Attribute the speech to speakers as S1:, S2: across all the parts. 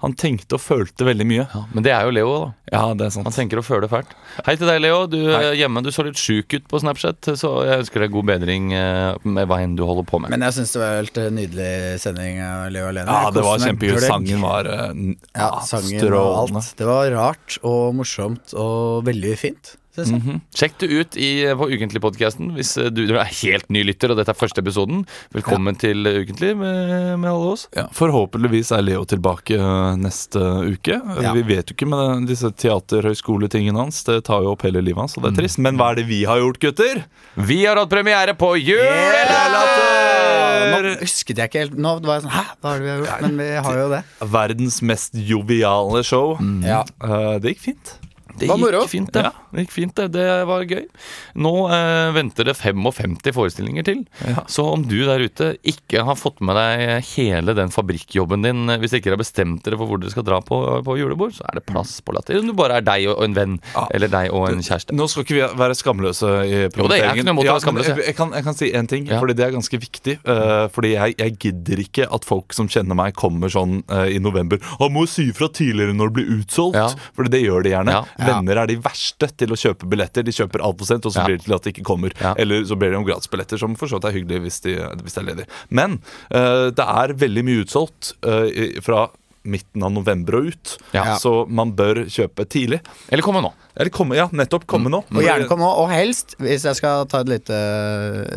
S1: Han tenkte og følte veldig mye.
S2: ja, men det er jo Leo, da.
S1: Ja, det er sant.
S2: Han tenker og føler fælt. Hei til deg, Leo. Du eh, hjemme, du så litt sjuk ut på Snapchat, så jeg ønsker deg god bedring eh, med hva enn du holder på med.
S3: Men jeg syns det var en helt eh, nydelig sending av Leo alene.
S1: Ja,
S3: Jeg
S1: det var
S3: koste meg
S1: kjempegøy.
S3: gløgg.
S1: Sangen var eh, n-
S3: ja,
S1: ah,
S3: sangen og
S1: strålende.
S3: alt. Det var rart og morsomt og veldig fint. Synes
S1: Mhm.
S3: jeg.
S2: Sjekk det ut i, eh, på Ukentlig-podkasten hvis eh, du, du er helt ny lytter, og dette er første episoden. Velkommen til eh, Ukentlig med, med alle oss.
S1: Ja, forhåpentligvis er Leo tilbake eh, neste uke.
S3: Ja.
S1: Vi vet jo ikke med den- disse teaterhøyskoletingene hans. Det tar jo opp hele livet hans, og det er trist. Men hva er det vi har gjort, gutter?
S2: Vi har hatt premiere på
S3: Ja, Eh, Nå
S2: Julelatter!
S3: husket jeg ikke helt Nå var jeg sånn Hæ, hva har vi har gjort? Men vi har jo det.
S1: Verdens mest joviale show.
S3: Mm. Ja.
S1: Eh, det gikk fint.
S2: Det
S3: var moro.
S2: gikk fint, det.
S1: Ja.
S2: Det gikk fint, det. Det var gøy. Nå eh, venter det 55 forestillinger til. Så om du der ute ikke har fått med deg hele den fabrikkjobben din, eh, hvis ikke dere har bestemt dere for hvor dere skal dra på, eh, på julebord, så er det plass på Latter. Om du bare er deg og, og en venn, eller deg og en kjæreste.
S1: Nå skal ikke vi være skamløse i promoteringen.
S2: det er ikke noe imot å være
S1: Ja, men
S2: skamløse.
S1: Jeg, jeg, kan, jeg kan si én ting,
S2: Ja.
S1: fordi det er ganske viktig. eh, fordi jeg, jeg gidder ikke at folk som kjenner meg, kommer sånn eh, i november. Han må si ifra tidligere når det blir utsolgt.
S2: Ja.
S1: Fordi det gjør de gjerne.
S2: Ja.
S1: Venner er de verste til å kjøpe billetter. De kjøper altfor sent, og så
S2: Ja.
S1: blir det til at de ikke kommer.
S2: Ja.
S1: Eller så ber de om gratisbilletter, som for så vidt er hyggelig hvis, de, hvis det er ledig. Men eh, det er veldig mye utsolgt eh, i- fra midten av november og ut,
S2: Ja.
S1: så man bør kjøpe tidlig.
S2: Eller kom nå.
S1: Eller komme, ja, nettopp Mm. komme nå.
S3: Og gjerne kom nå, og helst, hvis jeg skal ta et lite,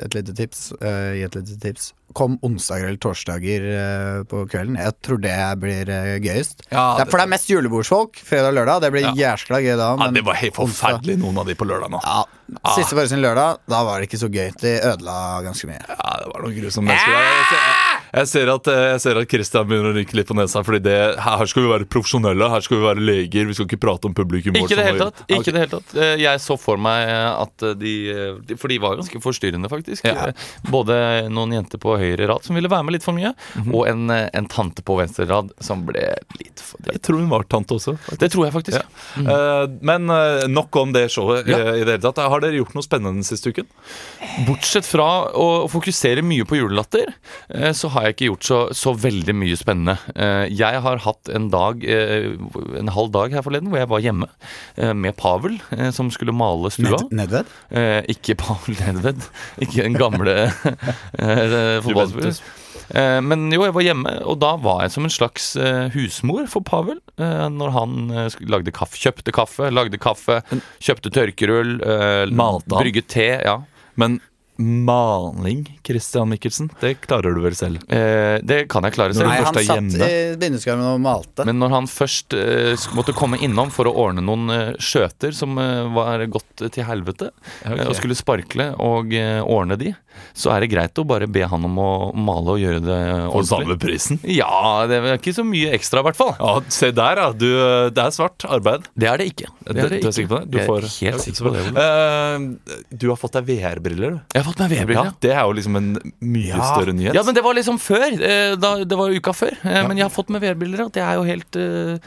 S3: et lite tips, eh, gi et lite tips Kom onsdager eller torsdager eh, på kvelden. Jeg tror det blir eh, gøyest.
S1: Ja,
S3: det er, for det er mest julebordsfolk fredag og lørdag. Det blir jæskla gøy da.
S1: Ja,
S3: men
S1: det var Ah. helt
S3: onsdag-
S1: forferdelig, noen av de på lørdag nå. Ja,
S3: Ja, Siste forestilling lørdag, da var det ikke så gøy. De ødela ganske mye.
S1: det var noen grusomme mennesker. der. Jeg ser, jeg, ser at, eh, jeg ser at Christian begynner å rynke litt på nesa, Fordi det, her skal vi være profesjonelle, her skal vi være leger, vi skal ikke prate om publikum. vårt
S2: Ikke i
S1: som
S2: det hele
S1: har-
S2: tatt.
S1: Ja,
S2: Ikke
S1: ok.
S2: det hele tatt. Eh, Jeg så for meg eh, at de de- For de var ganske forstyrrende, faktisk. Eh, Både noen jenter på høyre rad som ville være med litt for mye,
S1: Mhm.
S2: og en, eh, en tante på venstre rad som ble litt for
S1: Jeg
S2: dritt.
S1: tror hun var tante også.
S2: Det tror jeg faktisk.
S1: Ja. Eh, men eh, nok om det showet. eh, i det hele tatt Har dere gjort noe spennende den siste uken?
S2: Bortsett fra å fokusere mye på julelatter, eh, så har har jeg ikke gjort så, så veldig mye spennende. Eh, Jeg har hatt en dag, eh, en halv dag her forleden, hvor jeg var hjemme eh, med Pavel, eh, som skulle male stua.
S3: Ned, nedved?
S2: Eh, ikke Pavel Nedved. Ikke den gamle eh, fotballspilleren.
S1: Juventus.
S2: Eh, men jo, jeg var hjemme, og da var jeg som en slags eh, husmor for Pavel. Eh, når han eh, sk- lagde kaffe, kjøpte kaffe, lagde kaffe, kjøpte tørkerull, eh,
S1: Malte han?
S2: brygget te. ja
S1: Men maling, Christian Michelsen, det klarer du vel selv?
S2: eh, Det kan jeg klare selv.
S1: Når
S3: Nei,
S1: du
S3: han
S1: først er
S3: satt
S1: hjemme.
S3: i bindeskarmen og malte.
S2: Men når han først eh, sk- måtte komme innom for å ordne noen eh, skjøter som eh, var gått til helvete, eh, og skulle sparkle og eh, ordne de, så er det greit å bare be han om å male og gjøre det
S1: For
S2: ordentlig.
S1: samme prisen?
S2: Ja, det er ikke så mye ekstra, i hvert fall.
S1: Ja, se der, ja. Du, eh, det er svart arbeid.
S2: Det er det ikke. Det
S1: Du-
S2: er det
S1: du
S2: ikke.
S1: er sikker på det? Du
S2: Jeg er
S1: får,
S2: helt
S1: Ja,
S2: sikker på det. Ole.
S1: Eh, du har fått deg VR-briller, du.
S2: Jeg har fått meg
S1: Ja,
S2: VR-briller. Ja.
S1: Det er jo liksom en mye større nyhet.
S2: Ja, men det var liksom før. eh, Da, det var jo uka før. eh, Men jeg har fått meg VR-briller, og det er jo helt, eh,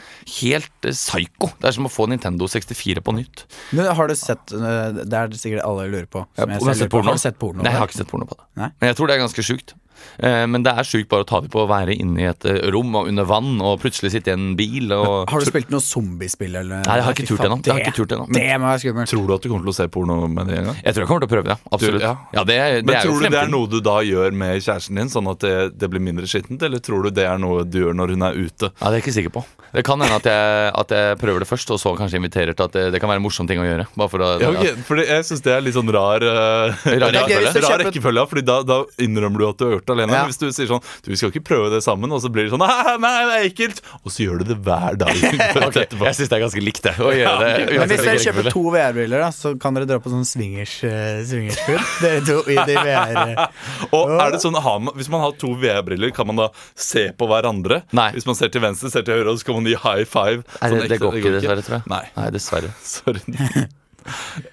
S2: helt eh, psyko. Det er som å få Nintendo 64 på nytt.
S3: Men har du sett øh, Det er det sikkert alle lurer på. som jeg
S2: om jeg har
S3: selv lurer på.
S2: sett porno?
S3: Har du sett porno?
S2: Nei, jeg har ikke sett porno på det.
S3: Nei.
S2: Men jeg tror det er ganske sjukt. Eh, Men det er sjukt bare å ta det på å være inne i et eh, rom og under vann, og plutselig sitte i en bil og
S3: Har du spilt noe zombiespill eller
S2: Nei, jeg har ikke
S3: Fy
S2: turt
S3: faen,
S2: ennå. Jeg har ikke turt ennå.
S3: Det, det må være skummelt.
S1: Tror du at du kommer til å se porno med det en gang?
S2: Jeg tror jeg kommer til å prøve det. Absolutt.
S1: ja.
S2: ja. det, er- det
S1: Men
S2: er jo
S1: tror du det er
S2: fremtiden.
S1: noe du da gjør med kjæresten din, sånn at det, det blir mindre skittent? Eller tror du det er noe du gjør når hun er ute?
S2: Ja, det er jeg ikke sikker på. Det kan hende at jeg, at jeg prøver det først, og så kanskje inviterer til at det, det kan være en morsom ting å gjøre. Bare for å,
S1: Ja, ok, fordi jeg syns det er litt sånn rar eh,
S2: Rar
S1: rar
S3: rekkefølge.
S1: rar rekkefølge. ja, Fordi da, da innrømmer du at du har gjort det alene.
S3: Ja.
S1: Hvis du sier sånn Du, vi skal ikke prøve det sammen, og så blir det sånn Nei, nei, det er ekkelt! Og så gjør du det hver dag. etterpå.
S2: Jeg syns det er ganske likt, det. Å gjøre det.
S3: Men hvis
S2: uansett
S3: dere
S2: rekkefølge.
S3: kjøper to VR-briller, da, så kan dere dra på sånn swingers øh, swingersklubb. Dere to i de eh. VR
S1: Og er det sånn, har man, Hvis man har to VR-briller, kan man da se på hverandre?
S2: Nei.
S1: Hvis man ser til venstre, ser til høyre, og så kan man gi high five?
S2: Nei, det,
S1: Sånn
S2: det
S1: ekstra-
S2: går ikke, dessverre, tror jeg.
S1: Nei,
S2: Nei, dessverre.
S1: sorry.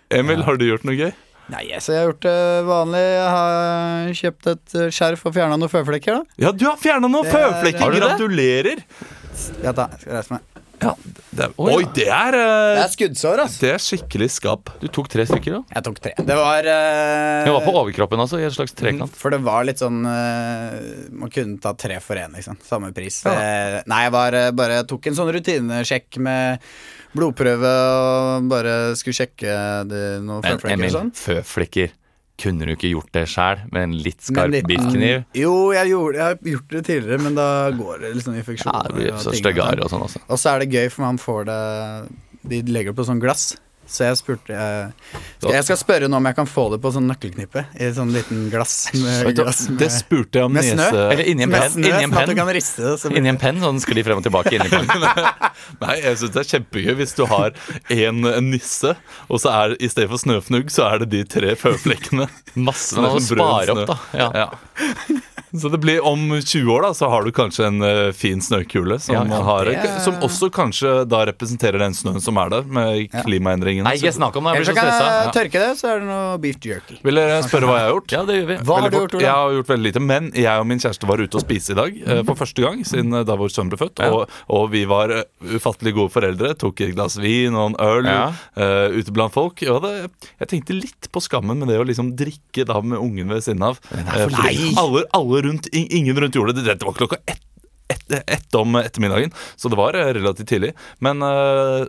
S1: Emil, har du gjort noe gøy?
S3: Nei, så jeg har gjort det vanlig. Jeg har kjøpt et øh, skjerf og fjerna noen føflekker, da.
S1: Ja, du har fjerna noen
S3: Det er- Har
S1: føflekker!
S3: du det?
S1: Gratulerer!
S3: Ja, da, jeg skal reise meg.
S1: Det er, oi, det er,
S3: Det
S1: eh,
S3: er skuddsår, altså.
S1: det er skikkelig skap.
S2: Du tok tre stykker, da?
S3: Jeg tok tre. Det var øh,
S2: Jeg var på overkroppen, altså, i en slags trekant.
S3: For det var litt sånn eh, Man kunne ta tre for én, liksom. Samme pris. Eh, nei, jeg var eh, bare tok en sånn rutinesjekk med blodprøve og bare skulle sjekke det, noen
S2: Men
S3: føflekker og
S2: Emil,
S3: sånn.
S2: føflekker. Kunne du ikke gjort det sjæl med en litt skarp
S3: Men litt-
S2: bitkniv?
S3: Jo, jeg, gjorde, jeg har gjort det tidligere, men da går det liksom
S2: Ja,
S3: infeksjon.
S2: det blir så
S3: og ting.
S2: stygge arr og sånn, altså.
S3: Og så er det gøy, for man får det De legger det på sånn glass. Så jeg spurte jeg, jeg skal spørre nå om jeg kan få det på sånn nøkkelknippe. I sånn liten glass. Med, glass med,
S1: Det spurte jeg om
S3: Med snø?
S1: nese...
S2: Eller inni en
S3: med
S2: penn.
S3: snø,
S2: Inni en
S3: sånn at du
S2: penn,
S3: kan riste det. Så blir
S2: inni en penn sånn skli frem og tilbake inni pennen.
S1: Nei, jeg syns det er kjempegøy hvis du har en nisse, og så er i stedet for snøfnugg, så er det de tre føflekkene.
S2: Masse
S1: Sånn
S2: man må
S1: brød
S2: spare
S1: snø.
S2: opp, da. Ja.
S1: Ja. Så det blir om 20 år, da, så har du kanskje en eh, fin snøkule som,
S2: Ja, ja,
S1: har,
S3: det-
S1: som også kanskje da representerer den snøen som er der, med klimaendringene.
S2: Nei, ikke
S1: Så-
S2: snakk om det. Jeg
S3: Ellers
S2: blir
S3: så
S2: så
S3: kan
S2: stressa.
S3: jeg tørke det, så er det noe beef jerky.
S1: Vil dere spørre hva jeg har gjort?
S2: Ja, det gjør vi.
S3: Hva har
S1: Veldig
S3: du
S1: fort.
S3: gjort, Ola?
S1: Jeg har gjort veldig lite, men jeg og min kjæreste var ute og spiste i dag eh, for første gang siden eh, da vår sønn ble født. Og, og vi var eh, ufattelig gode foreldre. Tok et glass vin og en øl
S2: Ja.
S1: eh, ute blant folk. Og det, jeg tenkte litt på skammen med det å liksom drikke da med ungen ved siden av. Eh, fordi alle, alle rundt, in- ingen rundt gjorde det. Dette var klokka ett. Ett ett om ettermiddagen, så det var eh, relativt tidlig. Men eh,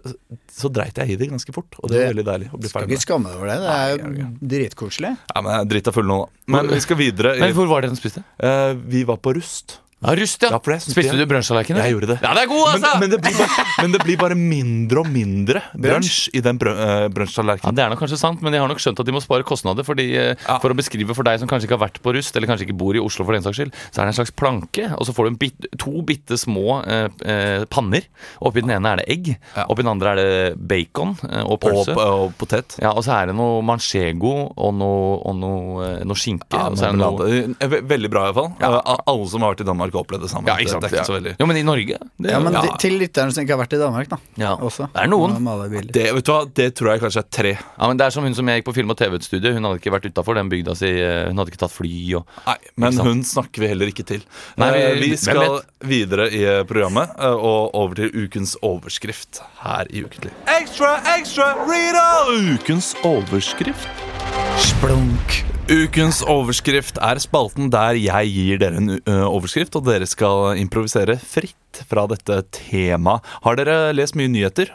S1: så dreit jeg i det ganske fort, og det var veldig deilig å bli
S3: Skal
S1: ferdig
S3: ikke
S1: med.
S3: skamme deg over det. Det er jo dritkoselig.
S1: Ja, men jeg er drita full nå, da. Men vi skal videre. i-
S2: Men hvor var det den spiste?
S1: Eh, vi var på Rust.
S2: Ja, Rust, ja.
S1: Ja, for jeg synes
S2: Spiste
S1: det-
S2: du brunsjtallerkener?
S1: Jeg gjorde det.
S2: Ja, det er god,
S1: Men,
S2: altså!
S1: men, det, blir bare, men det blir bare mindre og mindre brunsj i den brø- eh,
S2: Ja,
S1: brunsjtallerkenen.
S2: Det er nok kanskje sant, men jeg har nok skjønt at de må spare kostnader. Fordi, eh, For å beskrive for deg som kanskje ikke har vært på Rust, eller kanskje ikke bor i Oslo, for den saks skyld, så er det en slags planke, og så får du en bit, to bitte små eh, eh, panner. Oppi den ene er det egg, oppi den andre er det bacon eh, og
S1: Og,
S2: pølse.
S1: p- og potet.
S2: Ja, Og så er det noe manchego og noe, og noe, eh, noe skinke. og så er det
S1: marmelade.
S2: noe-
S1: Eh, ve- Veldig bra, iallfall. Ja. Alle som har vært i Danmark, har opplevd det samme.
S2: Ja, ikke sant.
S1: det, det er ikke så
S2: Ja.
S1: veldig
S2: Jo, men i Norge det,
S3: Ja, men
S2: ja.
S3: de- Til lytterne som ikke har vært i Danmark, da.
S2: Ja.
S3: Også.
S2: Det er noen.
S3: Må male bilder.
S1: det, vet du hva, det tror jeg kanskje er tre.
S2: Ja, men Det er som hun som jeg gikk på film- og TV-studio. Hun hadde ikke vært utafor den bygda si. eh, Hun hadde ikke tatt fly og
S1: Nei, Men
S2: Ikke sant?
S1: hun snakker vi heller ikke til.
S2: Nei, vi-
S1: Eh, vi
S2: hvem
S1: skal
S2: vet?
S1: videre i programmet eh, og over til ukens overskrift her i Ukentlig. Ekstra, ekstra, Rita! Ukens overskrift.
S3: Splunk.
S1: Ukens overskrift er spalten der jeg gir dere en ø, overskrift, og dere skal improvisere fritt fra dette temaet. Har dere lest mye nyheter?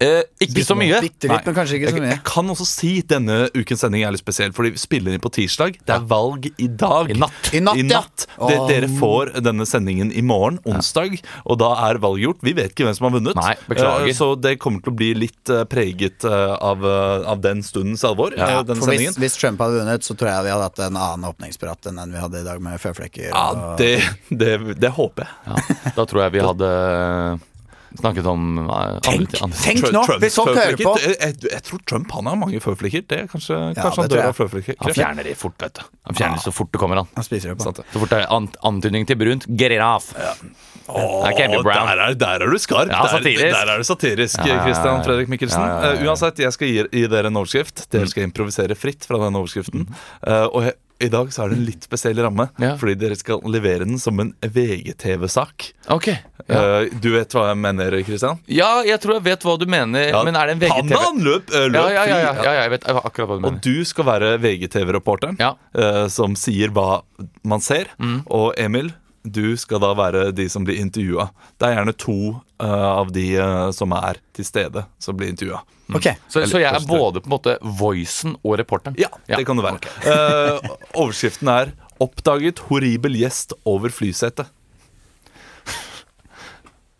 S1: Eh, ikke så mye.
S3: Bitte litt, men kanskje ikke så
S1: Jeg,
S3: mye.
S1: jeg kan også si denne ukens sending er litt spesiell, fordi vi spiller inn på tirsdag. Det er valg i dag.
S2: I natt.
S3: I natt, ja.
S1: De, dere får denne sendingen i morgen, onsdag, og da er valget gjort. Vi vet ikke hvem som har vunnet,
S2: Nei, beklager.
S1: Eh, så det kommer til å bli litt eh, preget eh, av, eh, av den stundens alvor. eh, denne
S3: For hvis,
S1: sendingen.
S3: hvis Trump hadde vunnet, så tror jeg vi hadde hatt en annen åpningsprat enn den vi hadde i dag med føflekker.
S1: Ja,
S3: og-
S1: det, det, det håper jeg.
S2: Ja, da tror jeg vi hadde snakket om eh, andre
S3: Tenk,
S2: ting- andre-
S3: tenk
S1: Tr-
S3: nå!
S1: Trump-
S3: Hvis folk hører
S1: føflekker,
S3: på!
S1: Jeg, jeg, jeg tror Trump han har mange føflekker. Det er kanskje,
S3: det
S1: kanskje han
S3: tror
S1: dør
S3: jeg.
S1: av føflekker.
S2: Han fjerner de fort, vet du. Han fjerner de så fort det kommer an.
S3: Han spiser det på.
S1: Sant det.
S2: Så fort det er ant antydning til brunt, get it off!
S1: Åh,
S2: Det er Candy Brown.
S1: Der, er, der er du skarp!
S2: Ja,
S1: der,
S2: satirisk.
S1: der er du satirisk,
S2: ja, ja, ja.
S1: Christian Fredrik Mikkelsen.
S2: Ja, Mm. ja, ja, ja.
S1: Eh, uansett, jeg skal gi, gi dere en overskrift. Dere skal improvisere fritt fra den overskriften. Eh, og jeg, i dag så er det en litt spesiell ramme,
S2: Ja.
S1: fordi dere skal levere den som en VGTV-sak.
S2: Ok ja.
S1: Eh, du vet hva jeg mener, Christian?
S2: ja, jeg tror jeg vet hva du mener, men er det en VGTV
S1: Pandaen løp, eh, løp
S2: Ja, ja, ja, ja,
S1: fri.
S2: ja, jeg vet akkurat hva du
S1: Og
S2: mener.
S1: du skal være VGTV-reporteren
S2: Ja.
S1: eh, som sier hva man ser. Og Emil, du skal da være de som blir intervjua. Det er gjerne to eh, av de eh, som er til stede, som blir intervjua.
S3: Ok.
S2: Så, så jeg er
S1: Eller-
S2: både på en måte voicen og reporteren?
S1: Ja, det kan det være. Eh, overskriften er 'Oppdaget horribel gjest over flysetet'.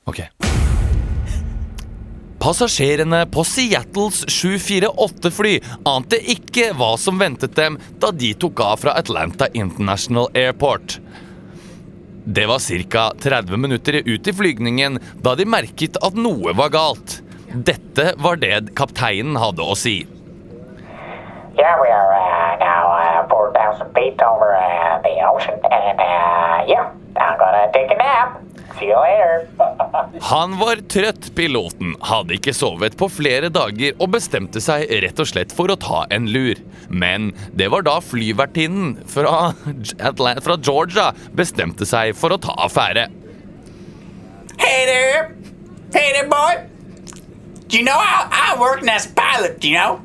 S2: Ok Passasjerene på Seattles 748-fly ante ikke hva som ventet dem da de tok av fra Atlanta International Airport. Det var ca. 30 minutter ut i flygningen da de merket at noe var galt. Dette var det kapteinen hadde å si.
S4: Yeah, we are uh, now uh, 4,000 feet over uh, the ocean, and uh, yeah, I'm gonna take a nap. See you later.
S2: Han var trøtt, piloten, hadde ikke sovet på flere dager og bestemte seg rett og slett for å ta en lur. Men det var da flyvertinnen fra, Atla- fra Georgia bestemte seg for å ta affære.
S5: Hey there. Hey there, boy. Do you know I, I work as pilot, you know?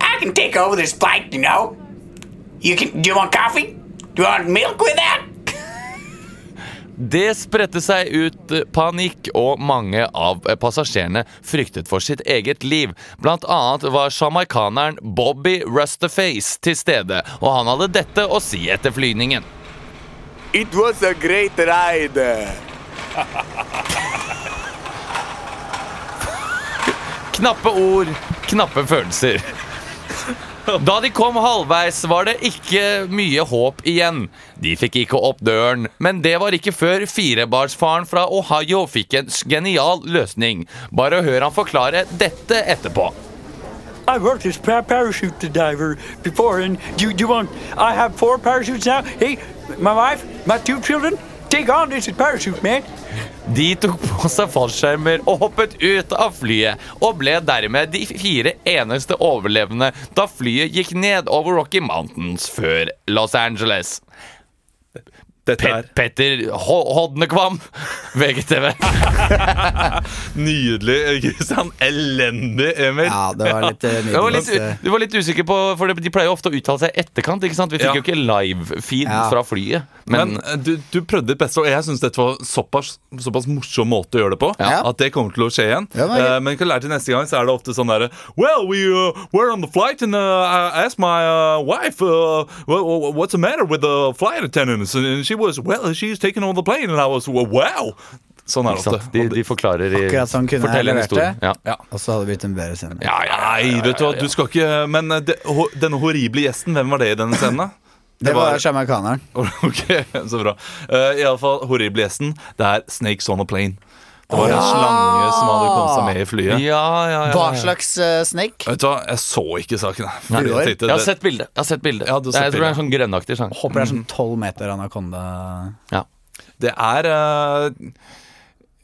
S5: I can take over this flight, you know? You can do you want coffee? Do you want milk with that?
S2: Det spredte seg ut eh, panikk, og mange av eh, passasjerene fryktet for sitt eget liv. Blant annet var sjamaikaneren Bobby Rustaface til stede, og han hadde dette å si etter flygningen.
S6: It was a great ride.
S2: Knappe ord, knappe følelser. Da de kom halvveis, var det ikke mye håp igjen. De fikk ikke opp døren, men det var ikke før firebarnsfaren fra Ohio fikk en genial løsning. Bare hør han forklare dette etterpå.
S7: I worked as par- parachute diver before, and do you, do you want? I have four parachutes now. Hey, my wife, my two children, take on this parachute, man.
S2: De tok på seg fallskjermer og hoppet ut av flyet, og ble dermed de fire eneste overlevende da flyet gikk ned over Rocky Mountains før Los Angeles.
S1: Dette
S2: Pet
S1: er
S2: Petter Ho- Hodnekvam, VGTV.
S1: nydelig, eh, Christian. Elendig, Emil.
S3: Ja, det var litt eh,
S2: Jeg var litt,
S3: middelmås. eh.
S2: du var litt usikker på, for de pleier jo ofte å uttale seg i etterkant. ikke sant? Vi fikk
S1: Ja.
S2: jo ikke live-feed
S3: Ja.
S2: fra flyet.
S1: Men,
S2: Men,
S1: eh, du, du prøvde ditt beste, og jeg syns dette var såpass, såpass morsom måte å gjøre det på.
S3: Ja.
S1: At det kommer til å skje igjen.
S3: Ja, det var gøy.
S1: Eh, men kan lære til neste gang, så er det ofte sånn derre Well, we uh, were on the flight and uh, I asked my uh, wife uh, wha- wha- what's the matter with the flight attendants. And she was Well, she's taken on the plane. And I was Wow! Sånn er
S2: ikke
S1: det ofte.
S2: sant? De,
S1: Og det-
S2: de forklarer i
S3: Akkurat sånn kunne jeg
S2: Fortell en
S3: levert
S2: historie.
S3: det.
S2: Ja.
S1: ja.
S3: eh, Og så hadde det blitt en bedre sending.
S2: Ja, ja, ja, ja,
S1: Nei, vet du hva, du skal ikke Men eh, det, ho, denne horrible gjesten, hvem var det i denne scenen? da?
S3: Det var sjamaikaneren.
S1: Ok, så bra. Uh, Iallfall horrible gjesten. Det er Snakes on a Plane. Det var en slange som hadde kommet seg med i
S2: ja,
S1: flyet.
S2: ja, ja.
S3: Hva slags eh, snake?
S1: Vet du hva, Jeg så ikke saken. jeg. Fordi
S3: Nei.
S1: jeg tenkte,
S2: Jeg har
S1: det-
S2: sett bildet. Jeg har sett bildet.
S1: Ja, du har sett
S2: jeg tror det er en sånn grønnaktig sang.
S3: Håper det er sånn tolv meter anakonda.
S2: Ja.
S1: Det er eh,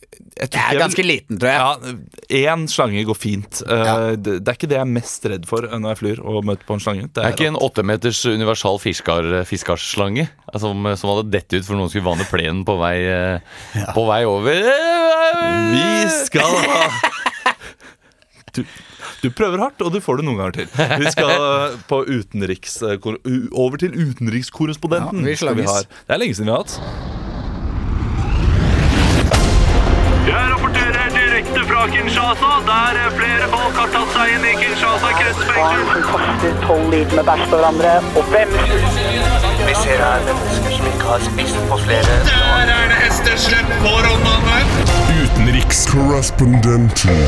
S1: jeg tror
S3: Det
S1: ikke
S3: er
S1: jeg
S3: ganske
S1: vil-
S3: liten, tror jeg.
S1: Ja, Én slange går fint. Eh, det, det er ikke det jeg er mest redd for når jeg flyr og møter på en slange. Det
S2: Det er ikke
S1: at-
S2: en åttemeters universal fiskar- fiskarsslange altså, som, som hadde dett ut for noen skulle vanne plenen på vei, eh, på vei over.
S1: Vi skal ha du, Du prøver hardt, og du får det noen ganger til. Vi skal eh, på utenriks, eh, kor- u- over til utenrikskorrespondenten.
S3: Ja, vi
S1: som
S3: slanges.
S1: har. Det er lenge siden vi har hatt.
S8: Jeg rapporterer direkte fra Kinshasa, der flere folk har tatt seg inn i Kinshasa kretsfengsel.
S9: Barn som kaster tolv liter med bæsj på hverandre, og hvem
S6: Vi ser her mennesker som ikke har spist på flere
S8: Der er det hesteslepp på Rondane.
S10: Utenrikskorrespondenten.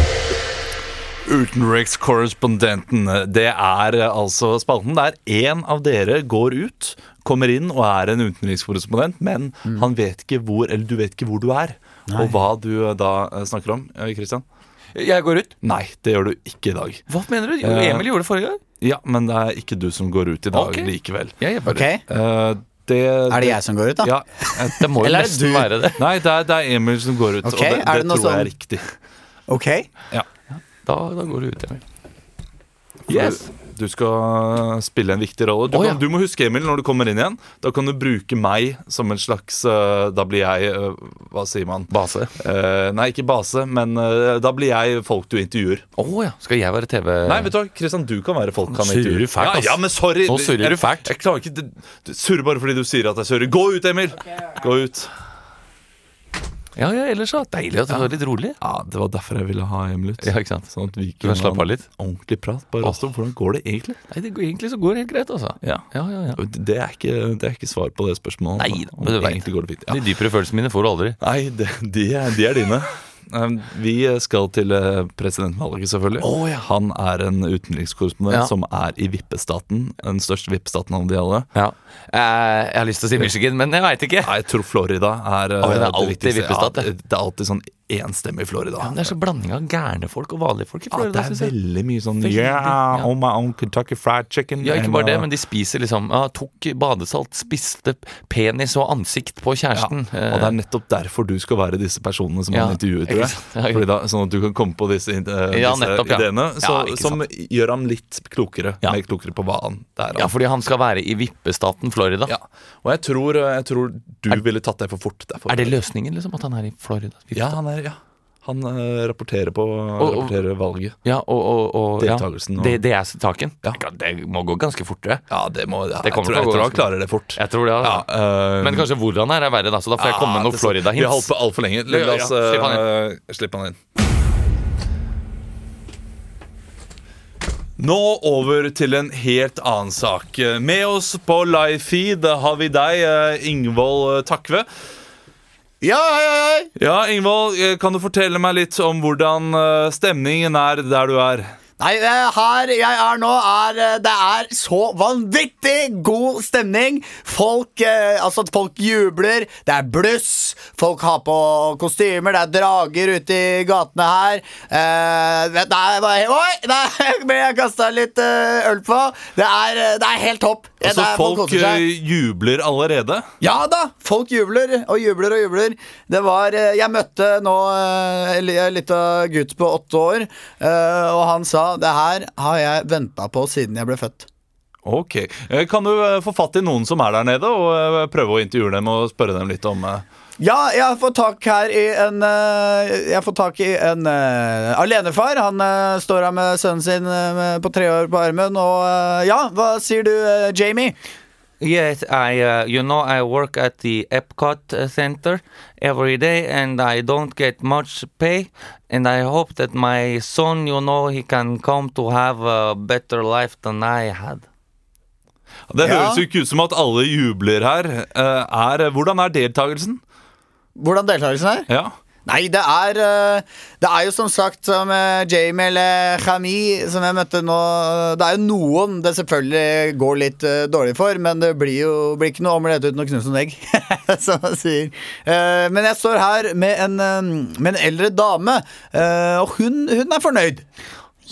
S1: Utenrikskorrespondenten. Det er eh, altså spalten der én av dere går ut, kommer inn og er en utenrikskorrespondent, men han vet ikke hvor, eller du vet ikke hvor du er, og hva du eh, da eh, snakker om. eh, Christian?
S2: Jeg går ut.
S1: Nei, det gjør du ikke i dag.
S2: Hva mener du? Jo,
S1: Eh,
S2: Emil gjorde det forrige gang.
S1: Ja, men det er ikke du som går ut i dag
S2: Ok.
S1: likevel.
S2: Jeg gjør bare
S3: Ok,
S2: det.
S1: Eh, det,
S3: Er det jeg som går ut, da?
S1: Ja. eh,
S2: Det må jo
S3: Eller er det
S2: nesten
S3: du?
S2: være det.
S1: Nei, det er, det er Emil som går ut,
S3: Ok,
S1: og det, det,
S3: er det noe sånn-
S1: tror jeg er riktig.
S3: Ok,
S2: Da, da går du ut, Emil.
S1: For Du skal spille en viktig rolle. Du,
S2: Å,
S1: kan,
S2: ja.
S1: du må huske, Emil, når du kommer inn igjen. Da kan du bruke meg som en slags eh, Da blir jeg eh, Hva sier man?
S2: Base.
S1: Eh, nei, ikke base, men eh, da blir jeg folk du intervjuer.
S2: Å ja. Skal jeg være TV
S1: Nei, vet du hva, Kristian, du kan være folk han
S2: Nå surrer
S1: intervjuer.
S2: du fælt, ass.
S1: ja, ja, men sorry.
S2: Nå surrer du fælt.
S1: Jeg, jeg klarer ikke det- Du surrer bare fordi du sier at jeg surrer. Gå ut, Emil! Gå ut.
S2: Ja, ja, ellers så. Deilig at du var litt rolig.
S1: Ja, Det var derfor jeg ville ha Emil ut.
S2: Ja, ikke sant?
S1: Sånn at vi
S2: Du kan slappe
S1: ha
S2: av litt.
S1: ordentlig prat. Bare
S2: Åh.
S1: også om hvordan går det egentlig?
S2: Nei, det går, Egentlig så går det helt greit, altså.
S1: Ja.
S2: ja, ja, ja.
S1: Det er ikke, det er ikke svar på det spørsmålet.
S2: Nei,
S1: Om
S2: men du vet.
S1: egentlig går det fint. Ja.
S2: De dypere følelsene mine får du aldri.
S1: Nei, det, de, er, de er dine. Um, Vi skal til eh, presidentvalget, selvfølgelig.
S2: Å, ja.
S1: Han er en utenrikskorrespondent
S2: Ja.
S1: som er i vippestaten. Den største vippestaten av de alle.
S2: Ja. Eh, jeg har lyst til å si Michigan, men jeg veit ikke.
S1: Nei, jeg tror Florida er eh,
S2: Å, det er alltid
S1: viktigste.
S2: vippestat, det.
S1: Ja, det er alltid sånn enstemmig Florida.
S2: Ja, men det er så blanding av gærne folk og vanlige folk i
S1: Ja, det
S2: Florida.
S1: er
S2: synes jeg.
S1: veldig mye sånn
S2: Veldig,
S1: Yeah,
S2: ja.
S1: on my own Kentucky fried chicken.
S2: Ja, ikke bare det,
S1: and, uh,
S2: men de spiser liksom ja, Tok badesalt, spiste penis og ansikt på kjæresten.
S1: Ja, og det er nettopp derfor du skal være disse personene som
S2: eh, Ja,
S1: han intervjuet, tror jeg.
S2: ikke sant?
S1: Fordi da, sånn at du kan komme på disse, ide-
S2: Ja,
S1: disse
S2: nettopp, ja.
S1: ideene, så,
S2: Ja, ikke
S1: som
S2: sant.
S1: gjør ham litt klokere.
S2: Ja.
S1: Mer klokere på hva han det er.
S2: Eh, ja,
S1: han.
S2: fordi han skal være i vippestaten Florida.
S1: Ja. Og jeg tror, eh, jeg tror du ville tatt det for fort. Derfor.
S2: Er det løsningen, liksom? At han er i Florida?
S1: Ja, han er ja. Han eh, rapporterer på
S2: og-
S1: rapporterer valget.
S2: Ja, og, og, og ja.
S1: Deltakelsen og-
S2: Det, det er saken? Ja, Det må gå ganske fortere.
S1: Ja, det må ja,
S2: Det
S1: Jeg
S2: kommer
S1: tror, jeg
S2: til å gå
S1: tror han
S2: ganske-
S1: klarer det fort.
S2: Jeg tror det,
S1: Ja,
S2: altså.
S1: eh,
S2: Men kanskje hvor han er, er verre, da, så da får jeg komme med
S1: det
S2: noen
S1: er sant. Vi har holdt
S2: Florida-hints.
S1: på altfor lenge. La
S2: Ja, ja,
S1: oss
S2: ja. Slipp han
S1: eh, slippe han inn. Nå over til en helt annen sak. Med oss på live-feed har vi deg, eh, Ingvold Takve.
S3: Ja, hei, hei, hei.
S1: Ja, Ingvold, eh, kan du fortelle meg litt om hvordan eh, stemningen er der du er?
S3: Nei, eh, her jeg er nå, er eh, Det er så vanvittig god stemning. Folk eh, Altså, at folk jubler. Det er bluss. Folk har på kostymer. Det er drager ute i gatene her. Eh, vet- det er bare Oi! Der ble jeg kasta litt eh, øl på. Det er, eh, det er helt topp. Eh,
S1: Altså,
S3: det er,
S1: folk
S3: koser seg.
S1: eh, jubler allerede.
S3: Ja da! Folk jubler og jubler og jubler. Det var eh, Jeg møtte nå eh, en li- en lita gutt på åtte år, eh, og han sa det her har jeg venta på siden jeg ble født.
S1: Ok. Eh, Kan du eh, få fatt i noen som er der nede, og eh, prøve å intervjue dem og spørre dem litt om eh,
S3: Ja, jeg får tak her i en eh, Jeg får tak i en eh, alenefar. Han eh, står her med sønnen sin eh, på tre år på armen, og eh, Ja, hva sier du, eh, Jamie?
S2: Yes, I, uh, you know, I work at the Epcot uh, Center every day, and I don't get much pay. And I hope that my son, you know, he can come to have a better life than I had.
S1: Det
S3: Ja.
S1: høres jo ikke ut som at alle jubler her. Eh, Er, hvordan er deltakelsen?
S3: Hvordan deltakelsen er?
S1: Ja.
S3: Nei, det er eh, Det er jo som sagt som eh, Jamie eller Khami som jeg møtte nå eh, Det er jo noen det selvfølgelig går litt eh, dårlig for, men det blir jo blir ikke noe omelett uten å knuse noen egg, som man sier. Eh, men jeg står her med en, eh, med en eldre dame, eh, og hun, hun er fornøyd.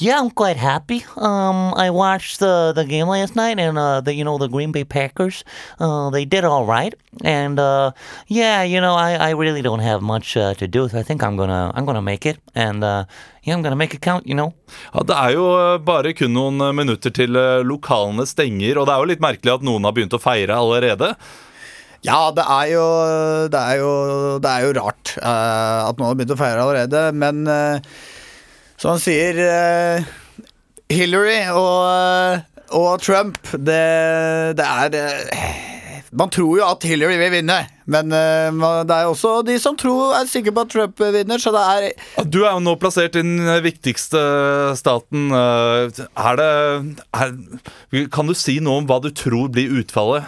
S9: Yeah, I'm quite happy. Um, I watched uh, the game last night, and uh, the, you know the Green Bay Packers, uh, they did all right. And uh, yeah, you know I, I really don't have much uh, to do, so I think I'm gonna I'm gonna make it, and uh, yeah, I'm gonna make it count. You know.
S1: ja, Det er jo eh, bare kun noen eh, minutter til eh, lokalene stenger, og det er jo litt merkelig at noen har begynt å feire allerede.
S3: Ja, det er jo Det er jo, det er jo rart eh, at noen har begynt å feire allerede, men eh, som han sier eh, Hillary og, eh, og Trump, det, det er eh, Man tror jo at Hillary vil vinne, men eh, man- det er jo også de som tror er sikre på at Trump vinner, så det er
S1: Du er jo nå plassert i den eh, viktigste staten. Eh, Er det er, Kan du si noe om hva du tror blir utfallet?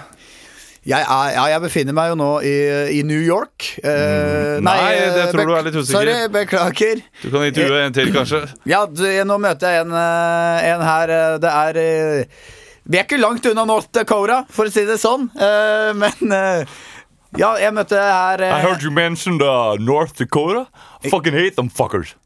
S3: jeg, er, ja, jeg befinner meg jo nå i, i New York. Eh,
S1: Mm. Nei, det tror
S3: eh,
S1: du er litt usikker.
S3: Sorry, beklager.
S1: Du kan intervjue en til, kanskje.
S3: Ja, du, nå møter jeg en, eh, en her eh, Det er eh, Vi er ikke langt unna North Dakota, for å si det sånn. Eh, Men eh, Ja, jeg møtte her eh,
S10: I heard you mentioned uh, North Dakota. Fucking hate them fuckers.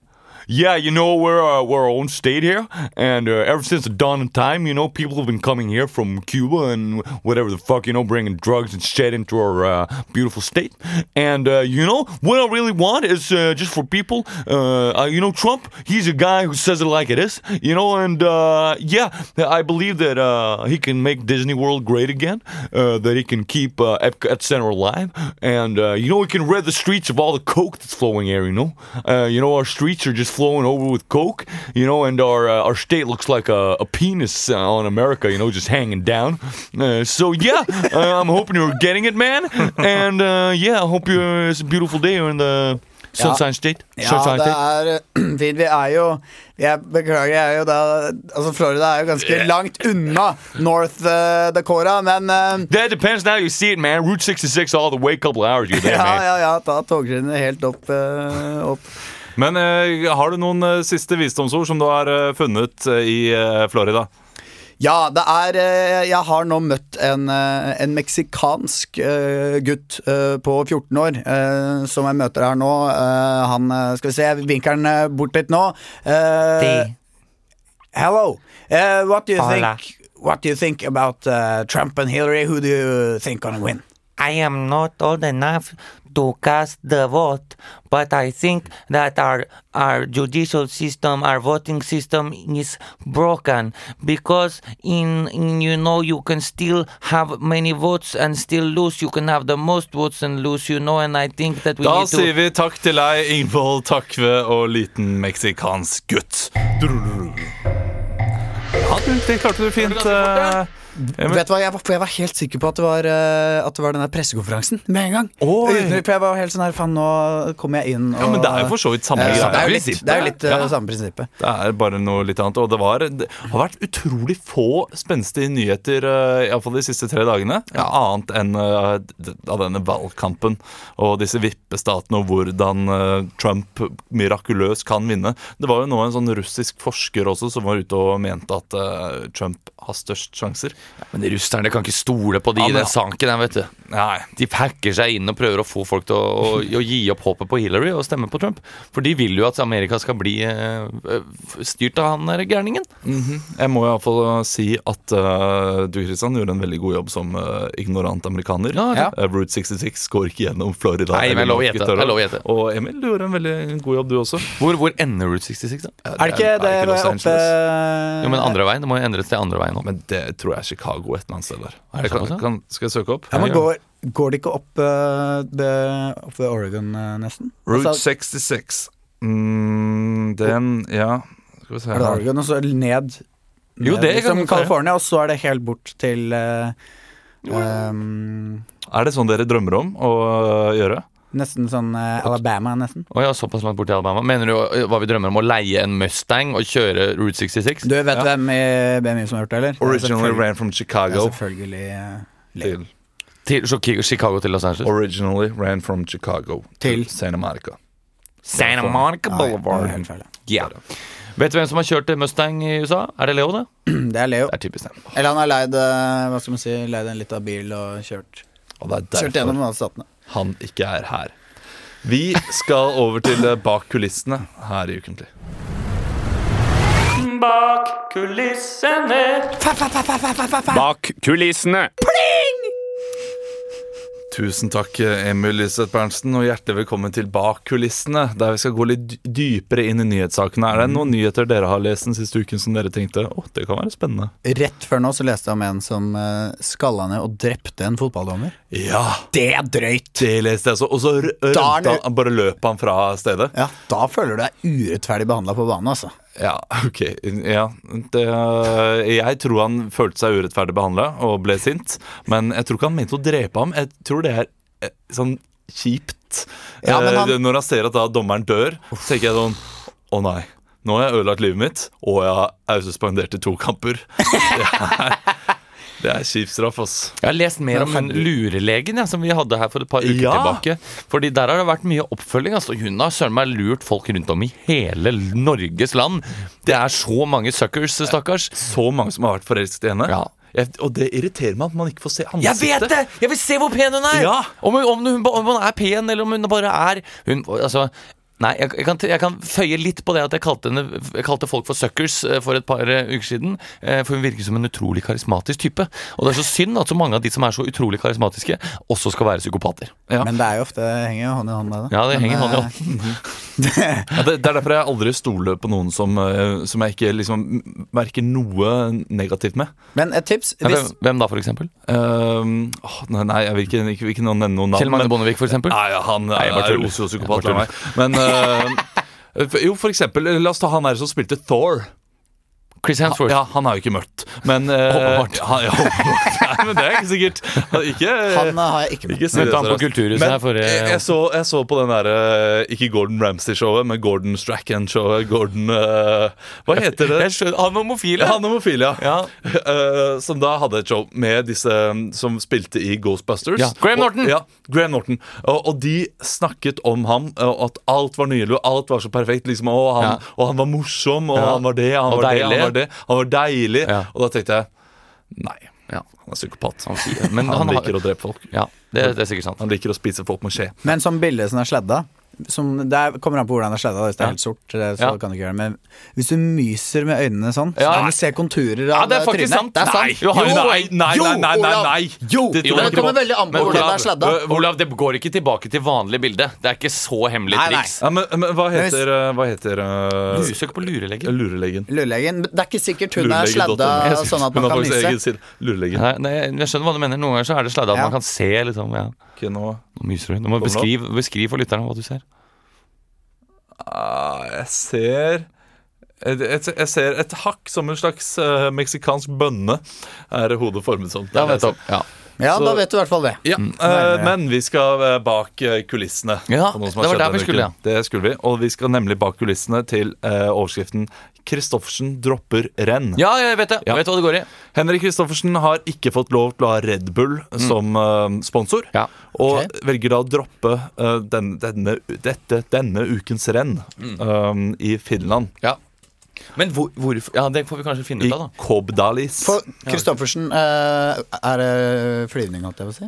S10: Yeah, you know we're uh, we're our own state here, and uh, ever since the dawn of time, you know, people have been coming here from Cuba and whatever the fuck, you know, bringing drugs and shit into our uh, beautiful state. And uh, you know what I really want is uh, just for people, uh, uh, you know, Trump. He's a guy who says it like it is, you know, and uh, yeah, I believe that uh, he can make Disney World great again. Uh, that he can keep uh, Epcot Center alive, and uh, you know he can rid the streets of all the coke that's flowing here. You know, uh, you know our streets are just flowing over with coke. You know, and our uh, our state looks like a, a penis uh, on America. You know, just hanging down. Uh, so yeah, uh, I'm hoping you're getting it, man. And uh, yeah, I hope you. It's a beautiful day here in the Sunshine State.
S3: Ja,
S10: Sunshine
S3: det
S10: State.
S3: er eh, fint. Vi er jo Jeg beklager, jeg er jo da Altså, Florida er jo ganske langt unna North eh, Dakota, men eh,
S10: That depends on how you see it, man. Route 66 all the way, couple hours you're there,
S3: Ja,
S10: man.
S3: ja, ja. Ta togskinnene helt opp. eh, opp.
S1: Men eh, har du noen eh, siste visdomsord som du har eh, funnet eh, i eh, Florida?
S3: Ja, det er eh, Jeg har nå møtt en, eh, en meksikansk eh, gutt eh, på 14 år eh, som jeg møter her nå. Eh, Han eh, Skal vi se, jeg vinker den eh, bort litt nå. Eh,
S11: De.
S3: Hello. Eh, what do you
S11: Hola.
S3: think? What do you think about uh, Trump and Hillary? Who do you think gonna win?
S11: I am not old enough to cast the vote, but I think that our our judicial system, our voting system is broken because in, in you know you can still have many votes and still lose. You can have the most votes and lose, you know, and I think that we
S1: Da
S11: need to
S1: sier vi takk til deg, Ingvold Takve og liten meksikansk gutt. Ja, du, det klarte du fint. eh, Emil.
S3: Vet du hva, jeg var, jeg var helt sikker på at det var, eh, at det var den der pressekonferansen med en gang. Uten- for Jeg var helt sånn her, faen, nå kommer jeg inn og
S1: Ja, men det er jo for så vidt samme
S3: Eh,
S1: greie.
S3: Det er jo litt,
S1: Prinsippet.
S3: det er jo litt eh,
S1: Ja.
S3: samme prinsippet.
S1: Det er bare noe litt annet. Og det, var, det har vært utrolig få spenstige nyheter eh, i alle fall de siste tre dagene. Annet enn eh, d- av denne valgkampen og disse vippestatene og hvordan eh, Trump mirakuløst kan vinne. Det var jo nå en sånn russisk forsker også som var ute og mente at eh, Trump har størst sjanser.
S2: Men de russerne kan ikke stole på de i
S1: Ja, men-
S2: den sanken her, vet du. De pakker seg inn og prøver å få folk til å, å, å gi opp håpet på Hillary og stemme på Trump. For de vil jo at Amerika skal bli eh, f- styrt av han der gærningen.
S1: Mhm. Jeg må iallfall si at eh, du Kristian, gjorde en veldig god jobb som eh, ignorant amerikaner.
S2: Ja,
S1: Eh, Route 66 går ikke gjennom Florida.
S2: Nei, men jeg lover å gjette, jeg lover å gjette.
S1: Og Emil, du gjorde en veldig god jobb, du også.
S2: Hvor, hvor ender Route 66, da?
S3: Er det ikke det
S1: Los
S3: oppe
S1: Angeles?
S2: Jo, men andre veien. Det må jo endres til andre veien nå.
S1: Men det tror jeg er Chicago et eller annet sted der.
S2: Er det
S1: kan,
S2: såpass, ja?
S1: kan, skal jeg søke opp?
S3: Ja, men går, går det ikke opp, eh, det- opp ved Oregon, eh, nesten?
S1: Route
S3: Altså,
S1: 66. Mm, den, ja Skal vi se
S3: er det Oregon, og så ned, ned
S1: Jo, det kan
S3: liksom
S1: vi få.
S3: California, og så er det helt bort til eh, ehm,
S1: Er det sånn dere drømmer om å øh, gjøre?
S3: Nesten sånn eh, Alabama, nesten.
S2: Å ja, såpass langt bort til Alabama. Mener du ø, hva vi drømmer om? Å leie en Mustang og kjøre Route 66?
S3: Du vet hvem i BMI som har gjort det, eller?
S1: Originally
S3: Selvfølgelig-
S1: ran from Chicago.
S3: Ja, selvfølgelig. eh,
S1: Til,
S2: Til Chica- Chicago til Los Angeles?
S1: originally ran from Chicago til Santa Monica.
S2: Santa Monica
S3: Nei, det er
S2: Boulevard.
S3: helt feil, ja.
S2: Ja. Vet du hvem som har kjørt Mustang i USA? Er det Leo, det?
S3: Det er Leo.
S2: Det er typisk det.
S3: Eller han har leid, eh, hva skal man si, leid en liten bil og kjørt,
S1: Og det er
S3: kjørt
S1: derfor-
S3: gjennom alle statene.
S1: han ikke er her. Vi skal over til eh, Bak kulissene her i Ukentlig.
S12: Bak kulissene.
S1: Bak kulissene! Tusen takk, øh, Emil Lyseth Berntsen, og hjertelig velkommen til Bak kulissene, der vi skal gå litt dy- dypere inn i nyhetssakene. Er det noen nyheter dere har lest den siste uken som dere tenkte åh, det kan være spennende?
S3: Rett før nå så leste jeg om en som eh, skalla ned og drepte en fotballdommer.
S1: Ja!
S3: Det er drøyt!
S1: Det leste jeg også. Og så r-
S3: Da er
S1: rømte
S3: det-
S1: han, bare løp han fra stedet.
S3: Ja, da føler du deg urettferdig behandla på banen, altså.
S1: Ja, ok. Ja. Det, eh, jeg tror han følte seg urettferdig behandla og ble sint. Men jeg tror ikke han mente å drepe ham. Jeg tror det er eh, sånn kjipt.
S3: Ja, men han-
S1: Eh, Når han ser at da dommeren dør, så tenker jeg sånn Å nei. Nå har jeg ødelagt livet mitt, og jeg er suspendert i to kamper. Det er, det er kjip straff, ass.
S2: Jeg har lest mer om hun lurelegen ja, som vi hadde her for et par uker
S1: Ja.
S2: tilbake. Fordi der har det vært mye oppfølging. Altså, hun har søren meg lurt folk rundt om i hele Norges land. Det er så mange suckers, stakkars.
S1: Så mange som har vært forelsket i henne. Jeg, og det irriterer meg at man ikke får se
S2: Jeg
S1: ansiktet.
S2: vet det! Jeg vil se hvor pen hun er!
S1: Ja.
S2: Om, hun- om, hun, ba- om hun er pen, eller om hun bare er hun, altså, Nei, jeg, jeg, kan, jeg kan føye litt på det at jeg kalte, henne, jeg kalte folk for suckers eh, for et par eh, uker siden. eh, For hun virker som en utrolig karismatisk type. Og det er så synd at så mange av de som er så utrolig karismatiske, også skal være psykopater.
S3: Men det er jo ofte det henger jo hånd i hånd med det.
S2: Ja, det
S3: Men,
S2: henger hånd i
S3: eh,
S2: hånd.
S1: Ja, det, det er derfor jeg aldri stoler på noen som, eh, som jeg ikke liksom m- merker noe negativt med.
S3: Men et tips
S2: Ja,
S3: hvis,
S2: hvem- Hvem da, for eksempel?
S1: Ehm, åh, nei, nei, jeg vil ikke, ikke, vil ikke noen nevne noen navn.
S2: Kjell Magne
S1: men-
S2: Bondevik, for eksempel?
S1: Nei, ja, han eh,
S2: Nei, jeg bare
S1: er
S2: tuller.
S1: oslo-psykopat.
S2: Jeg bare
S1: la meg. Men eh, for- jo, for eksempel, la oss ta han her som spilte Thor.
S2: Chris Hemsworth.
S1: Ja, han er jo ikke mørkt, men eh,
S2: Håperbart.
S1: han, ja, håperbart. Nei, men det er ikke sikkert. Ikke,
S3: Han eh, har jeg ikke møtt.
S1: si det,
S2: Møtte han på
S1: seriøst.
S2: Kulturhuset
S1: Men
S2: her forrige-
S1: jeg, jeg, så, jeg så på den derre Ikke Gordon Ramsay-showet, men Gordon Strachan-showet. Gordon eh, Hva heter det?
S2: Jeg skjønner, Han homofile!
S1: Ja, han homofil, ja.
S2: Ja.
S1: Eh, som da hadde et show med disse um, som spilte i Ghostbusters.
S2: Ja, Graham Norton.
S1: Og, ja, Graham Norton. Og, og de snakket om ham, eh, og at alt var nydelig, og alt var så perfekt. Liksom, og, han,
S2: Ja.
S1: og han var morsom, og
S2: Ja.
S1: han var det, han
S2: Og
S1: var det,
S2: deilig.
S1: han var det. Han var deilig.
S2: Ja.
S1: Og da tenkte jeg nei,
S2: Ja.
S1: han er psykopat. Han,
S2: men han har-
S1: liker å drepe folk.
S2: Ja, det, det er sikkert sant.
S1: Han liker å spise folk med skje.
S3: Men som bilde som er sledda som, Det kommer an på hvordan det er sledda. Hvis det er helt sort, eh, så
S2: Ja.
S3: kan du ikke gjøre det. Men hvis du myser med øynene sånn, så
S2: Ja.
S3: kan du se konturer
S2: Ja,
S3: av eh,
S2: det er faktisk
S3: trynet.
S2: sant.
S3: Det er sant.
S2: Nei, du har jo
S1: nei,
S2: poeng.
S1: nei, nei, nei, nei, nei.
S3: Jo,
S1: Det tror jeg
S2: Jo, det
S1: ikke på.
S2: kommer
S13: veldig an på
S2: Men
S13: hvordan det er
S2: Olav,
S13: sladda.
S2: øh, Olav, det går ikke tilbake til vanlig bilde. Det er ikke så hemmelig
S3: Nei, nei.
S2: triks.
S1: Ja, men, men hva
S3: Men hvis-
S1: heter, eh, hva heter eh,
S2: Du søker på lurelegen.
S1: Lurelegen.
S3: Lurelegen. Det er ikke sikkert hun er
S1: Lurelegen.no.
S3: sladda sånn at
S1: E. Hun
S3: man
S1: har
S3: kan
S1: faktisk egen
S3: myse.
S1: side. Lurelegen.
S2: Nei, nei, jeg skjønner hva du mener. Noen ganger så er det sladda at
S3: Ja.
S2: man kan se. liksom ja.
S1: Ikke noe
S2: Nå myser du. Nå må
S1: Kommer det
S2: beskriv, beskriv for lytterne hva du ser.
S1: Ah, Jeg ser jeg, jeg, jeg ser et hakk som en slags eh, meksikansk bønne er hodet formet som. Det er det jeg ser.
S2: Ja. Mm.
S3: Ja,
S1: Så-
S3: da vet du i hvert fall det.
S1: Ja, eh, men vi skal eh, bak eh, kulissene.
S2: Ja,
S1: på noe som
S2: det
S1: har skjedd
S2: var der vi
S1: denne
S2: skulle,
S1: uken. Det skulle vi, Og vi skal nemlig bak kulissene til eh, overskriften 'Christoffersen dropper renn'.
S2: Ja, jeg vet det.
S1: Ja.
S2: Vet hva det går i.
S1: Henrik Kristoffersen har ikke fått lov til å ha Red Bull som eh, sponsor,
S2: Ja.
S1: og
S3: Mm. Ok.
S1: velger da å droppe eh, den, denne, dette, denne ukens renn
S3: Mm.
S1: eh, i Finland.
S2: Ja. Men hvor, hvorfor Ja, det får vi kanskje finne
S1: I
S2: ut av, da.
S1: Kobdalis.
S3: For Kristoffersen eh, er det flyvning, holdt jeg på å si.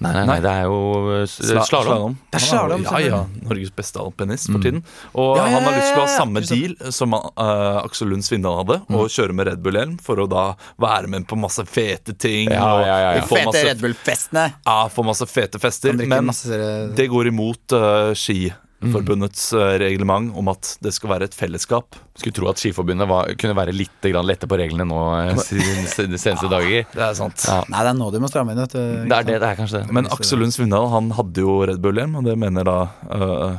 S2: Nei, nei, nei, det er jo slalåm.
S3: Det Mm. er slalom,
S1: Ja, ja. Norges beste alpinist for tiden. Og han har lyst til å ha samme deal som eh, Aksel Lund Svindal hadde,
S3: Mm.
S1: og kjøre med Red Bull-hjelm for å da være med på masse fete ting.
S2: Ja, ja, ja, ja.
S1: Og få
S3: Fete
S1: masse,
S3: Red Bull-festene.
S1: ja, få masse fete fester.
S3: Han drikker
S1: Men
S3: masse-
S1: det går imot eh, Skiforbundets eh, reglement om at det skal være et fellesskap.
S2: Skulle tro at Skiforbundet var, kunne være litt grann lette på reglene nå eh, siden de seneste dager.
S1: Det er sant.
S2: Ja.
S3: Nei, det er nå de må stramme inn, vet du.
S2: Det er det det er, kanskje det.
S1: Men Aksel Lund Svindal han hadde jo Red Bull-hjelm, og det mener da eh,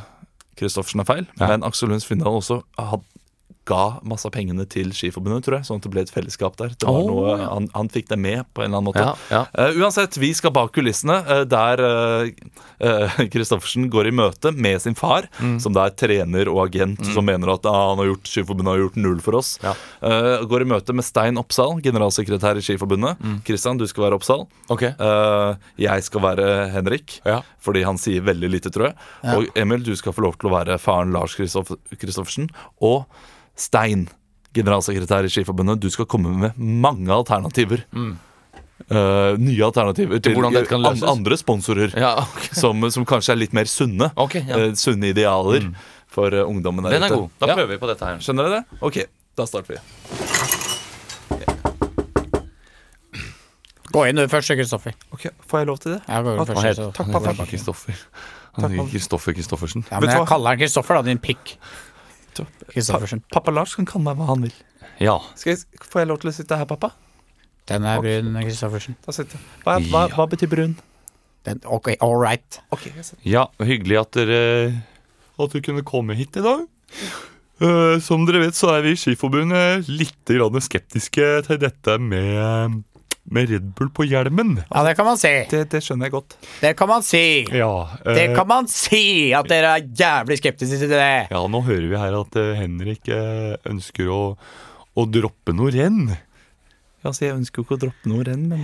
S1: Kristoffersen er feil. Men Aksel Lund Svindal også had, ga masse av pengene til Skiforbundet, tror jeg. Sånn at det ble et fellesskap der. Det var
S2: Åh,
S1: noe,
S2: ja.
S1: han, han fikk det med på en eller annen måte.
S2: Ja, ja.
S1: Eh, uansett, vi skal bak kulissene, eh, der Kristoffersen går i møte med sin far,
S2: Mm.
S1: som da er trener og agent, som mener at ah, han har gjort, Skiforbundet har gjort null for oss.
S2: Ja.
S1: Eh, går i møte med Stein Oppsal, generalsekretær i Skiforbundet. Kristian, du skal være Oppsal.
S2: Mm. Ok.
S1: Eh, jeg skal være Henrik,
S2: Ja.
S1: fordi han sier veldig lite, tror jeg. Og Emil, du skal få lov til å være faren Lars Kristoff- Kristoffersen. Og Stein, generalsekretær i Skiforbundet, du skal komme med mange alternativer. Eh, nye alternativer til
S2: Mm. hvordan dette kan
S1: an-
S2: løses?
S1: andre sponsorer,
S2: Ja, ok.
S1: som, som kanskje er litt mer sunne.
S2: Ok, ja. Mm.
S1: Eh, sunne idealer for eh, ungdommen der
S2: Den er
S1: ute.
S2: god. Da
S1: Ja.
S2: prøver vi på dette her.
S1: Skjønner dere det? Ok, da starter vi.
S3: Gå inn du først, Kristoffer.
S1: Ok, Får jeg lov til det?
S3: Jeg går inn
S2: Han
S3: først.
S2: heter
S3: så-
S2: han heter ikke Kristoffer. Han heter Kristoffer Kristoffersen.
S3: Ja, men
S1: Vet du
S3: jeg
S1: hva?
S3: kaller han Kristoffer, da, din pikk. Kristoffersen.
S1: Pappa Lars kan kalle meg hva han vil.
S2: Ja.
S1: Skal jeg, får jeg lov til å sitte her, pappa?
S3: Den er brun, Kristoffersen.
S1: Da sitter jeg. Hva, hva, hva betyr brun?
S3: Den, ok, all right.
S1: Ok, jeg sitter.
S2: Ja, hyggelig at dere At du kunne komme hit i dag.
S1: Eh, Som dere vet, så er vi i Skiforbundet litt grann skeptiske til dette med, med Red Bull på hjelmen.
S10: Ja, det kan man si.
S1: Det, skjønner jeg godt.
S10: Det kan man si!
S1: Ja, eh,
S10: Det kan man si! At dere er jævlig skeptiske til det.
S1: Ja, nå hører vi her at eh, Henrik eh, ønsker å, å droppe noe renn. Altså, jeg ønsker jo ikke å droppe noe renn, men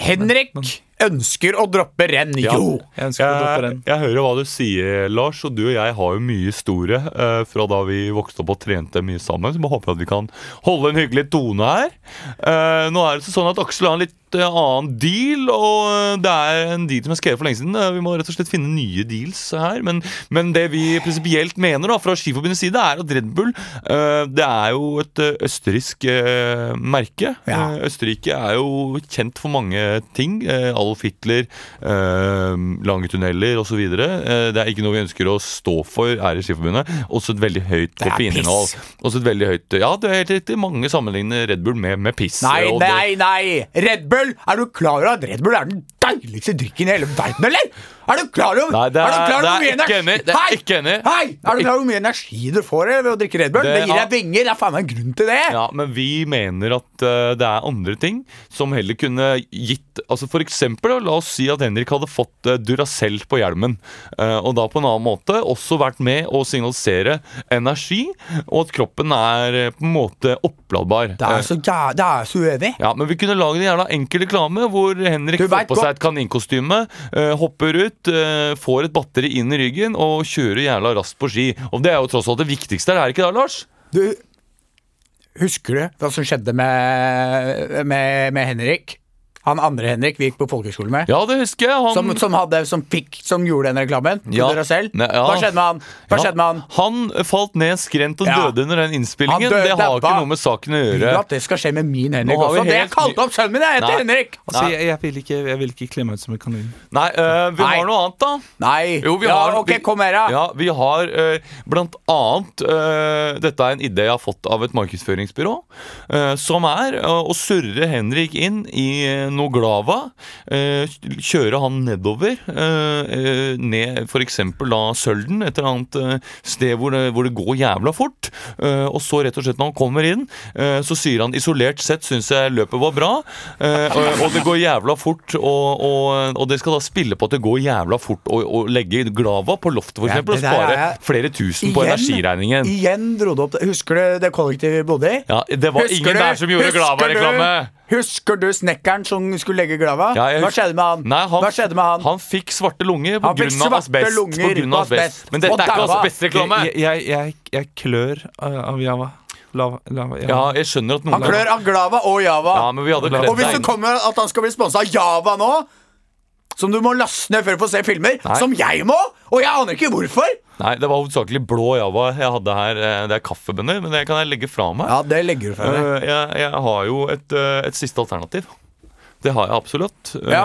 S10: Henrik ønsker å droppe renn, jo!
S1: jeg, Eh, jeg hører hva du sier, Lars, og du og jeg har jo mye historie eh, fra da vi vokste opp og trente mye sammen, så jeg håper at vi kan holde en hyggelig tone her. Eh, nå er det sånn at Aksel har en litt eh, annen deal, og eh, det er en deal som er skrevet for lenge siden. Eh, vi må rett og slett finne nye deals her, men, men det vi prinsipielt mener da, fra Skiforbundets side, er at Red Bull eh, det er jo et eh, østerriksk eh, merke. Eh, Østerrike er jo kjent for mange ting. Eh, Alf Hitler, eh, lange tunneler osv. Eh, det er ikke noe vi ønsker å stå for her i Skiforbundet. Også et veldig høyt koffeininnhold. Også et veldig høyt, ja, det er helt riktig. Mange sammenligner Red Bull med, med piss.
S10: Nei,
S1: og det-
S10: nei, nei! Red Bull! Er du klar over at Red Bull er den deiligste drikken i hele verden, eller? Er du klar over
S1: Nei, det er-
S10: du klar over hvor
S1: det er
S10: mye
S1: ikke
S10: energi-
S1: enig, det er
S10: Hei!
S1: ikke enig.
S10: Hei! Er du klar over hvor mye energi du får eh, ved å drikke Red Bull?
S1: Det-
S10: Det, gir
S1: ja.
S10: deg vinger. Det er faen meg en grunn til det.
S1: Ja, men vi mener at eh, det er andre ting som heller kunne gitt Altså for eksempel, da, la oss si at Henrik hadde fått eh, Duracell på hjelmen. eh, og da på en annen måte også vært med å signalisere energi, og at kroppen er eh, på en måte oppladbar. Eh,
S10: Det er så, ja, det er så uenig.
S1: Ja, men vi kunne lage en jævla enkel reklame hvor Henrik
S10: Du
S1: får
S10: vet
S1: på seg et kaninkostyme, eh, hopper ut, eh, får et batteri inn i ryggen og kjører jævla raskt på ski. Og det er jo tross alt det viktigste her, er det ikke det, Lars?
S10: Du, husker du hva som skjedde med, med, med Henrik? Han andre Henrik vi gikk på folkehøyskole med.
S1: Ja, det husker jeg. Han...
S10: Som, som, hadde, som, fikk, som gjorde den reklamen. til
S1: Ja.
S10: Dere selv.
S1: Ne- ja.
S10: Hva skjedde med han? Hva
S1: Ja.
S10: skjedde med han?
S1: Han falt ned skrent og
S10: Ja.
S1: døde under den
S10: Han
S1: innspillingen.
S10: døde,
S1: det har
S10: dabba.
S1: ikke noe med saken å
S10: Vil du
S1: gjøre.
S10: at det skal skje med min
S1: Nå
S10: Henrik
S1: har vi
S10: også? Det jeg
S1: helt
S10: kalte opp sønnen min, jeg heter
S1: Nei.
S10: Henrik!
S1: Altså,
S10: Nei.
S1: jeg-
S14: vil ikke, jeg vil ikke klemme ut som en kanin.
S1: Nei, øh, vi
S10: Nei.
S1: har noe annet, da.
S10: Nei.
S1: Jo, vi
S10: ja,
S1: har,
S10: ok,
S1: vi-
S10: kom her, da.
S1: Ja, vi har øh, blant annet øh, Dette er en idé jeg har fått av et markedsføringsbyrå. øh, som er øh, å surre Henrik inn i øh, noe glava. øh, kjøre han nedover. øh, øh, ned f.eks. da Sølden, et eller annet øh, sted hvor det, hvor det går jævla fort. øh, og så rett og slett når han kommer inn, øh, så sier han isolert sett syns jeg løpet var bra. øh, og, og det går jævla fort, og, og, og det skal da spille på at det går jævla fort å å legge glava på loftet, f.eks.
S10: Ja,
S1: eksempel og
S10: det der
S1: spare
S10: er jeg-
S1: flere tusen på
S10: Igjen?
S1: energiregningen.
S10: Igjen dro det opp Husker du det kollektivet vi bodde i?
S1: Ja, det var ingen der som gjorde
S10: husker
S1: Glava-reklame.
S10: du- Husker du snekkeren som skulle legge Glava?
S1: Ja, jeg
S10: Hva
S1: husker-
S10: skjedde med han?
S1: Nei, han,
S10: Hva skjedde med han?
S1: han fikk svarte lunger
S10: Han fikk
S1: pga.
S10: svarte
S1: asbest. På
S10: lunger
S1: grunn av
S10: på
S1: asbest.
S10: asbest.
S1: Men dette
S10: Og
S1: er ikke
S10: daua.
S1: asbestreklame!
S14: Jeg, jeg, jeg, jeg klør uh, av Java. Lava, lava,
S1: Ja, jeg skjønner at noen
S10: Han klør av Glava og Java.
S1: Ja, men vi hadde kledd
S10: og hvis
S1: deg
S10: det kommer at han skal bli sponsa av Java nå, som du må laste ned før du får se filmer,
S1: Nei.
S10: som jeg må, og jeg aner ikke hvorfor
S1: Nei, det var hovedsakelig blå java jeg hadde her. Eh, Det er kaffebønner, men det kan jeg legge fra meg.
S10: Ja, det legger du fra deg.
S1: Eh, Jeg, jeg har jo et, eh, et siste alternativ. Det har jeg absolutt. Eh,
S10: Ja.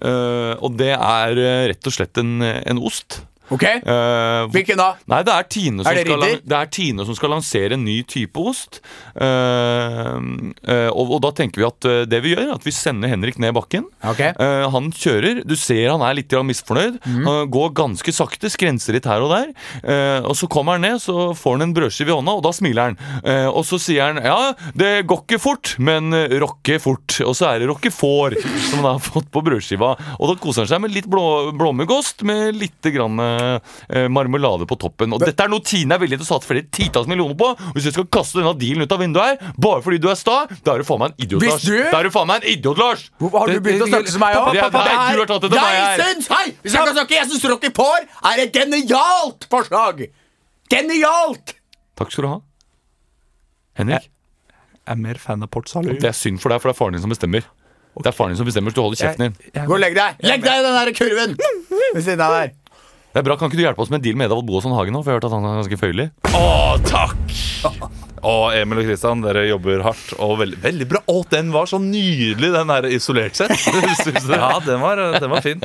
S1: eh, og det er eh, rett og slett en, en ost.
S10: Ok?
S1: Eh,
S10: Hvilken da?
S1: Nei, det er Tine som,
S10: Er det
S1: skal,
S10: Ridder?
S1: lan- det er Tine som skal lansere en ny type ost. Eh, eh, og, og da tenker vi at eh, det vi gjør, er at vi sender Henrik ned bakken.
S10: Ok.
S1: Eh, han kjører. Du ser han er litt grann misfornøyd.
S10: Mhm.
S1: Han går ganske sakte, skrenser litt her og der. Eh, og så kommer han ned, så får han en brødskive i hånda, og da smiler han. Eh, og så sier han ja, det går ikke fort, men eh, rocker fort. Og så er det rockefår som han har fått på brødskiva. Og da koser han seg med litt blå, blåmuggost med litt grann, eh, marmelade på toppen. Og dette er noe Tine er villig til å satse flere titalls millioner på. Og Hvis du skal kaste denne dealen ut av vinduet her, bare fordi du er sta, da er du faen meg en idiot,
S10: Hvis
S1: Lars.
S10: du-
S1: Da er du faen meg en idiot, Lars.
S10: Hvorfor har du begynt å snakke som meg òg?
S1: Det er deg, du har tatt det til meg
S10: Jeg
S1: her.
S10: syns, hei, hvis jeg kan snakke, jeg syns Rocky Får er et genialt forslag! Genialt!
S1: Takk skal du ha. Henrik,
S14: Jeg er mer fan av Port Salut.
S1: det er synd for deg, for det er faren din som bestemmer. Det er faren din som bestemmer, så du holder kjeften din.
S10: Gå og legg deg. Legg deg i den der kurven ved siden av der.
S1: Det er bra, Kan ikke du hjelpe oss med en deal med Edvald Boasson Hagen nå? For jeg har hørt at han er ganske føyelig.
S15: Å, takk! Og Emil og Kristian, dere jobber hardt og veldig, veldig bra. Å, den var så nydelig, den her isolert sett. ja, den var, den var fin.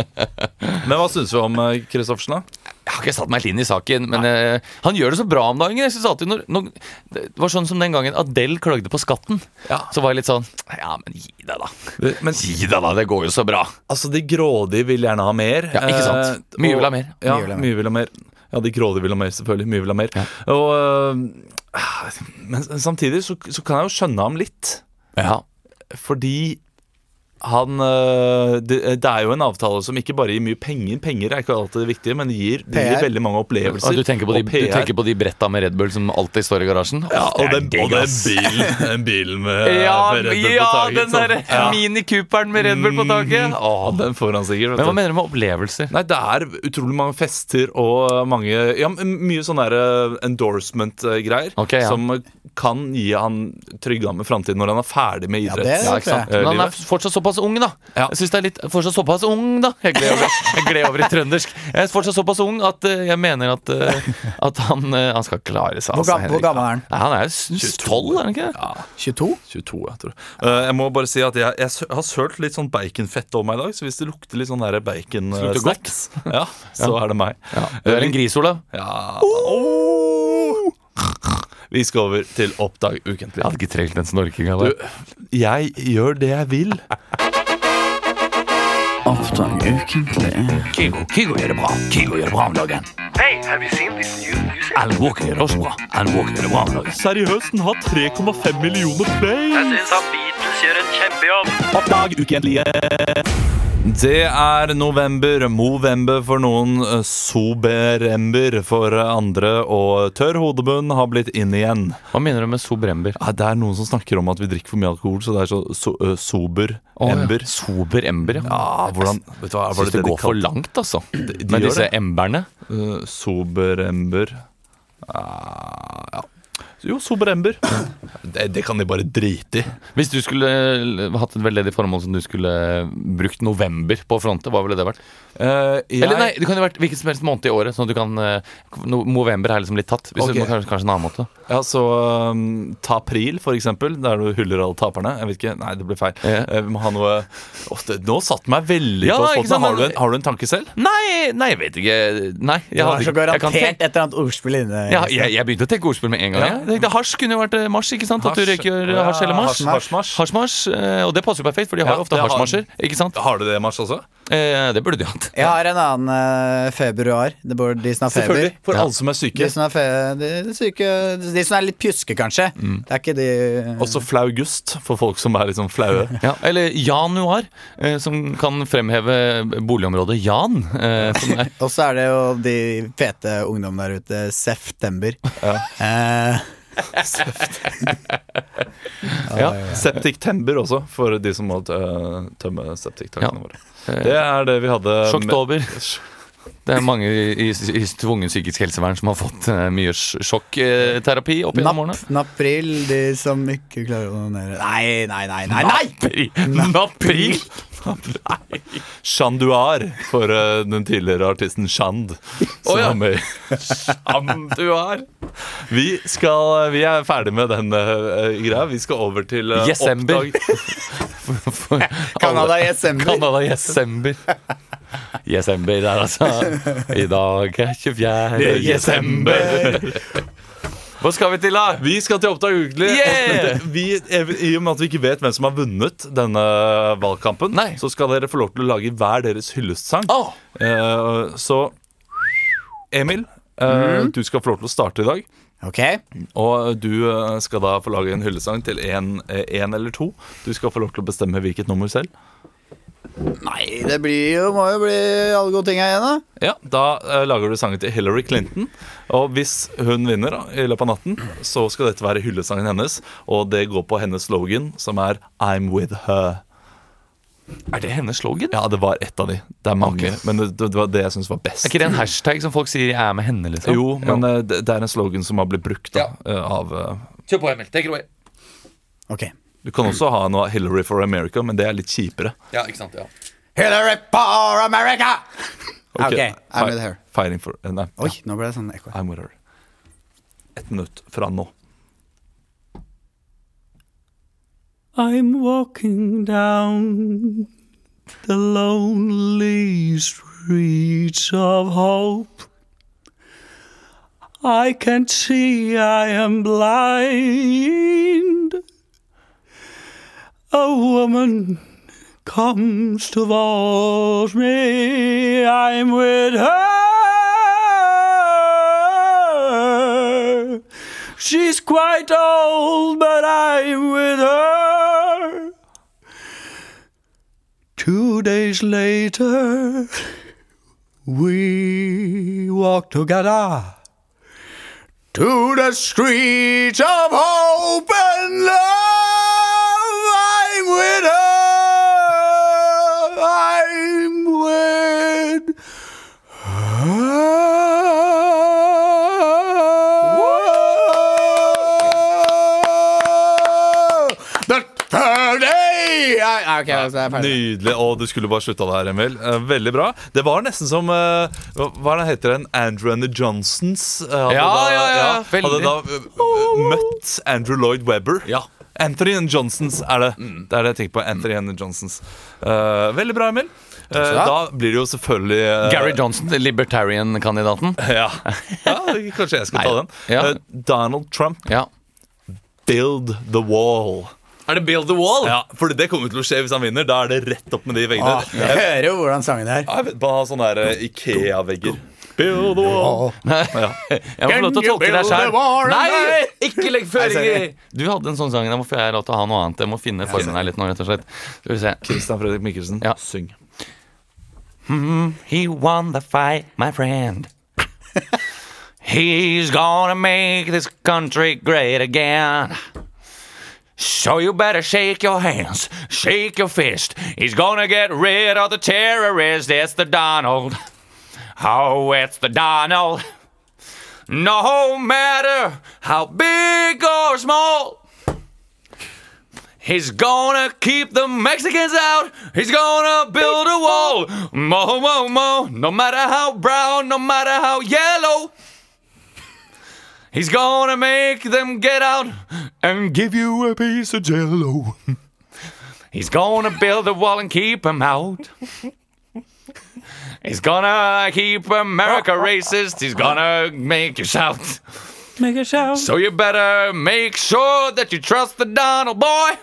S15: Men hva syns vi om eh, Kristoffersen, da?
S1: Jeg har ikke satt meg helt inn i saken, men eh, han gjør det så bra om dagen. Jeg synes alltid når, når, Det var sånn som den gangen Adele klagde på skatten. Så var jeg litt sånn Ja, men gi deg, da. gi deg, da. Det går jo så bra.
S15: Altså, De grådige vil gjerne ha mer.
S1: Ja, ikke sant.
S15: Eh,
S1: Mye
S15: og-
S1: vil ha mer.
S15: Ja,
S1: Mye vil ha mer.
S15: mye vil ha mer.
S1: Ja, de grådige vil ha mer, selvfølgelig. Mye vil ha mer. Og, øh, men samtidig så, så kan jeg jo skjønne ham litt. Fordi han øh, det, det er jo en avtale som ikke bare gir mye penger. Penger er ikke alltid det viktige, men det gir, det gir veldig mange opplevelser.
S2: Ja, du, tenker på de,
S1: og
S2: du tenker på de bretta med Red Bull som alltid står i garasjen?
S1: Ja, og den, og den bilen den bilen med,
S2: Eh,
S1: med Red Bull på taket.
S2: den der
S1: sånn. Ja.
S2: Mini Cooperen med Red Bull på taket!
S1: Ja, den får han sikkert.
S2: Men hva mener du med opplevelser?
S1: Nei, Det er utrolig mange fester og mange Ja, m- mye sånne der, eh, endorsement-greier
S2: Ok, ja.
S1: som kan gi han trygge ham i framtiden når han er ferdig med
S2: Ja,
S1: idrett. Eh,
S2: det Ja, ikke tror sant? jeg. Men han er fortsatt såpass ung, da. Jeg synes det er litt Fortsatt såpass ung, da. Jeg gled over, jeg gled over i trøndersk. Jeg er fortsatt såpass ung at eh, jeg mener at, eh, at han, eh, han skal klare seg.
S3: Hvor
S2: altså,
S3: gam-
S2: Henrik.
S3: hvor gammel er han?
S2: Nei, han er jo s- 12, er han ikke det?
S3: 22?
S1: 22, jeg tror. Eh, jeg må bare si at jeg, jeg sø- har sølt litt sånn baconfett om meg i dag, så hvis det lukter litt sånn der bacon eh,
S2: Lukter godt.
S1: snacks, ja, så er det meg. Eh,
S2: Du er en gris, Olav.
S1: Ja. Oh! Vi skal over til Oppdag ukentlig.
S2: Jeg hadde ikke trengt den snorkinga
S1: Du,
S2: der.
S1: jeg gjør det jeg vil.
S16: Oppdrag ukentlig.
S12: Kygo, Kygo gjør det bra. Kygo gjør det bra om dagen.
S8: Hey, have you seen this new music?
S12: Alan Walker gjør det også bra. Alan Walker gjør det bra om dagen.
S1: Seriøst, den har 3,5 millioner plays!
S8: syns han Beatles gjør en kjempejobb.
S1: Oppdag ukentlige. Det er november, movember for noen, eh, soberember for andre, og tørr hodebunn har blitt inn igjen.
S2: Hva mener du med sobrember?
S1: Ja, det er noen som snakker om at vi drikker for mye alkohol, så det er så, so, eh, sober
S2: Å, ja.
S1: ember.
S2: Sober ember, ja.
S1: Ja, hvordan, vet du hva,
S2: Jeg
S1: var
S2: syns det
S1: de
S2: går for
S1: kalte-
S2: langt, altså.
S1: de
S2: Med
S1: gjør
S2: disse
S1: det.
S2: emberne.
S1: Eh, sober ember. Ah, ja. Jo, sober ember. Det, det kan de bare drite i.
S2: Hvis du skulle eh, hatt et veldedig formål som du skulle brukt november på å fronte, hva ville det vært?
S1: Eh, jeg-
S2: Eller nei, det kan jo vært hvilken som helst måned i året. Sånn at du kan eh, no, November er liksom litt tatt. Hvis
S1: Ok.
S2: du, kanskje, kanskje en annen måte.
S1: Ja, så um, Tapril, for eksempel, der du hyller alle taperne. Jeg vet ikke, Nei, det ble feil. Eh, Vi må ha noe Åh, det, Nå satt meg veldig
S2: Ja,
S1: på
S2: ikke
S1: spotten.
S2: sant,
S1: Har, du
S2: men-
S1: en- har du en tanke selv?
S2: Nei, nei, jeg vet ikke. Nei.
S3: Du
S2: Jeg,
S3: har
S2: hadde,
S3: så
S2: ikke- jeg, kan
S3: garantert et
S2: tenke,
S3: eller annet ordspill inne.
S2: ja, jeg, jeg begynte å tenke ordspill med en gang.
S3: Ja.
S2: jeg. Jeg tenkte, hasj kunne jo vært eh, mars, ikke sant? At du
S1: Hasj.
S2: røyker
S1: Ja,
S2: hasj eller mars.
S1: eh, hasj- hasjmarsj.
S2: Hasjmarsj, eh, Og det passer jo perfekt, for de har
S1: Ja,
S2: jo ofte
S1: det har-
S2: hasjmarsjer. Ikke sant?
S1: Har du det, Mars, også?
S2: Eh, det burde de hatt.
S3: Jeg har en annen eh, februar. Det bor de som har feber.
S1: Selvfølgelig. For
S3: Ja.
S1: alle som er syke.
S3: De som er, fe de, de syke. De som er litt pjuske, kanskje.
S2: Mm.
S3: Det er ikke de
S1: Også flaugust, for folk som er litt sånn flaue.
S2: Ja, eller januar, eh, som kan fremheve boligområdet Jan. Eh, som er
S3: Og så er det jo de fete ungdommene der ute. September. Eh,
S1: Ja. Septiktember også, for de som må eh, tømme septiktankene våre. Det er det vi hadde med-
S2: Sjokktober. Det er mange i, i, i tvungen psykisk helsevern som har fått eh, mye sj- sjokkterapi opp gjennom årene.
S3: Napril, de som ikke klarer å onanere. Nei, nei, nei, nei! nei!
S2: Napri- Napril!
S1: Chanduar, for eh, den tidligere artisten Chand. som
S2: Å, ja.
S1: var med i-
S2: Chanduar!
S1: Vi, skal, eh, vi er ferdig med den eh, greia. Vi skal over til eh,
S2: Jesember.
S1: oppdag.
S3: Canada i desember.
S2: Canada Jesember. Jesember der, er altså. I dag er 24.
S1: Jesember.
S2: Hva skal vi til, da?
S1: Vi skal til Oppdag ukentlig.
S2: Yeah!
S1: Og det- Vi, I og med at vi ikke vet hvem som har vunnet denne valgkampen, så skal dere få lov til å lage hver deres hyllestsang. Eh, så Emil, eh, du skal få lov til å starte i dag.
S3: Ok.
S1: Og du eh, skal da få lage en hyllesang til én eller to. Du skal få lov til å bestemme hvilket nummer selv.
S3: Nei, det blir jo, må jo bli alle gode tinga igjen, da.
S1: Ja, Da eh, lager du sangen til Hillary Clinton. Og hvis hun vinner da, i løpet av natten, så skal dette være hyllesangen hennes. Og det går på hennes slogan, som er 'I'm with her'.
S2: Er det hennes slogan?
S1: Ja, det var ett av de. Det er mange, men det, det var det jeg syns var best.
S2: Er ikke det en hashtag som folk sier 'jeg er med henne'? liksom?
S1: Jo, men eh, det, det er en slogan som har blitt brukt da, eh, av eh,
S2: Kjør på, Emil. Take it away.
S1: Du kan også ha noe av Hillary for America, men det er litt kjipere.
S2: Ja, ikke sant, ja.
S3: Hillary for America! Ok, I'm
S1: fi-
S3: with her.
S1: Fighting for eh, Nei.
S3: Oi, nå ble det sånn ekko.
S1: I'm with her. Ett minutt fra nå.
S12: I'm walking down the lonely streets of hope. I can see I am blind. A woman comes towards me. I'm with her.
S3: She's quite old, but I'm with her. Two days later, we walked together to the streets of hope and love. I'm with her. I'm with her. The third day. I, I, okay, altså, jeg er ferdig.
S1: Nydelig. Og du skulle bare slutta der, Emil. Eh, Veldig bra. Det var nesten som eh, Hva hva er det heter den? Andrew and the Johnsons? eh, hadde
S2: Ja, ja, ja,
S1: Hadde
S2: veldig.
S1: da eh, møtt Andrew Lloyd Webber. Anthony and Johnsons er det.
S2: Mm.
S1: Det er det jeg tenker på. Anthony and the Johnsons. Eh, veldig bra, Emil. Eh, da blir det jo selvfølgelig eh,
S2: Gary Johnson, libertarian-kandidaten.
S1: Ja. ja, kanskje jeg skal ta den. Eh, Donald Trump. Build the wall.
S2: Er det Build the Wall?
S1: Ja, for det kommer til å skje hvis han vinner. Da er det rett opp med de veggene.
S17: Ah, jeg hører jo hvordan sangen er.
S1: Jeg vet bare ha sånne der, eh, Ikea-vegger. Build the wall. Ja.
S2: Jeg må få lov til å tolke deg sjøl. Nei! Ikke legg
S1: Nei,
S2: føringer!
S1: sorry.
S2: Du hadde en sånn sang. Jeg må få jeg lov til å ha noe annet. Jeg må finne formen her litt nå, rett og slett. Skal vi se.
S1: Christian Fredrik Mikkelsen,
S2: ja.
S1: syng.
S10: Mhm, he won the fight, my friend. He's gonna make this country great again. So you better shake your hands, shake your fist. He's gonna get rid of the terrorists. It's the Donald. Oh, it's the Donald. No matter how big or small, he's gonna keep the Mexicans out. He's gonna build a wall. Mo, mo, mo. No matter how brown, no matter how yellow, he's gonna make them get out and give you a piece of jello. He's gonna build a wall and keep them out. He's gonna keep America racist. He's gonna make you shout.
S3: Make a shout.
S10: So you better make sure that you trust the Donald boy.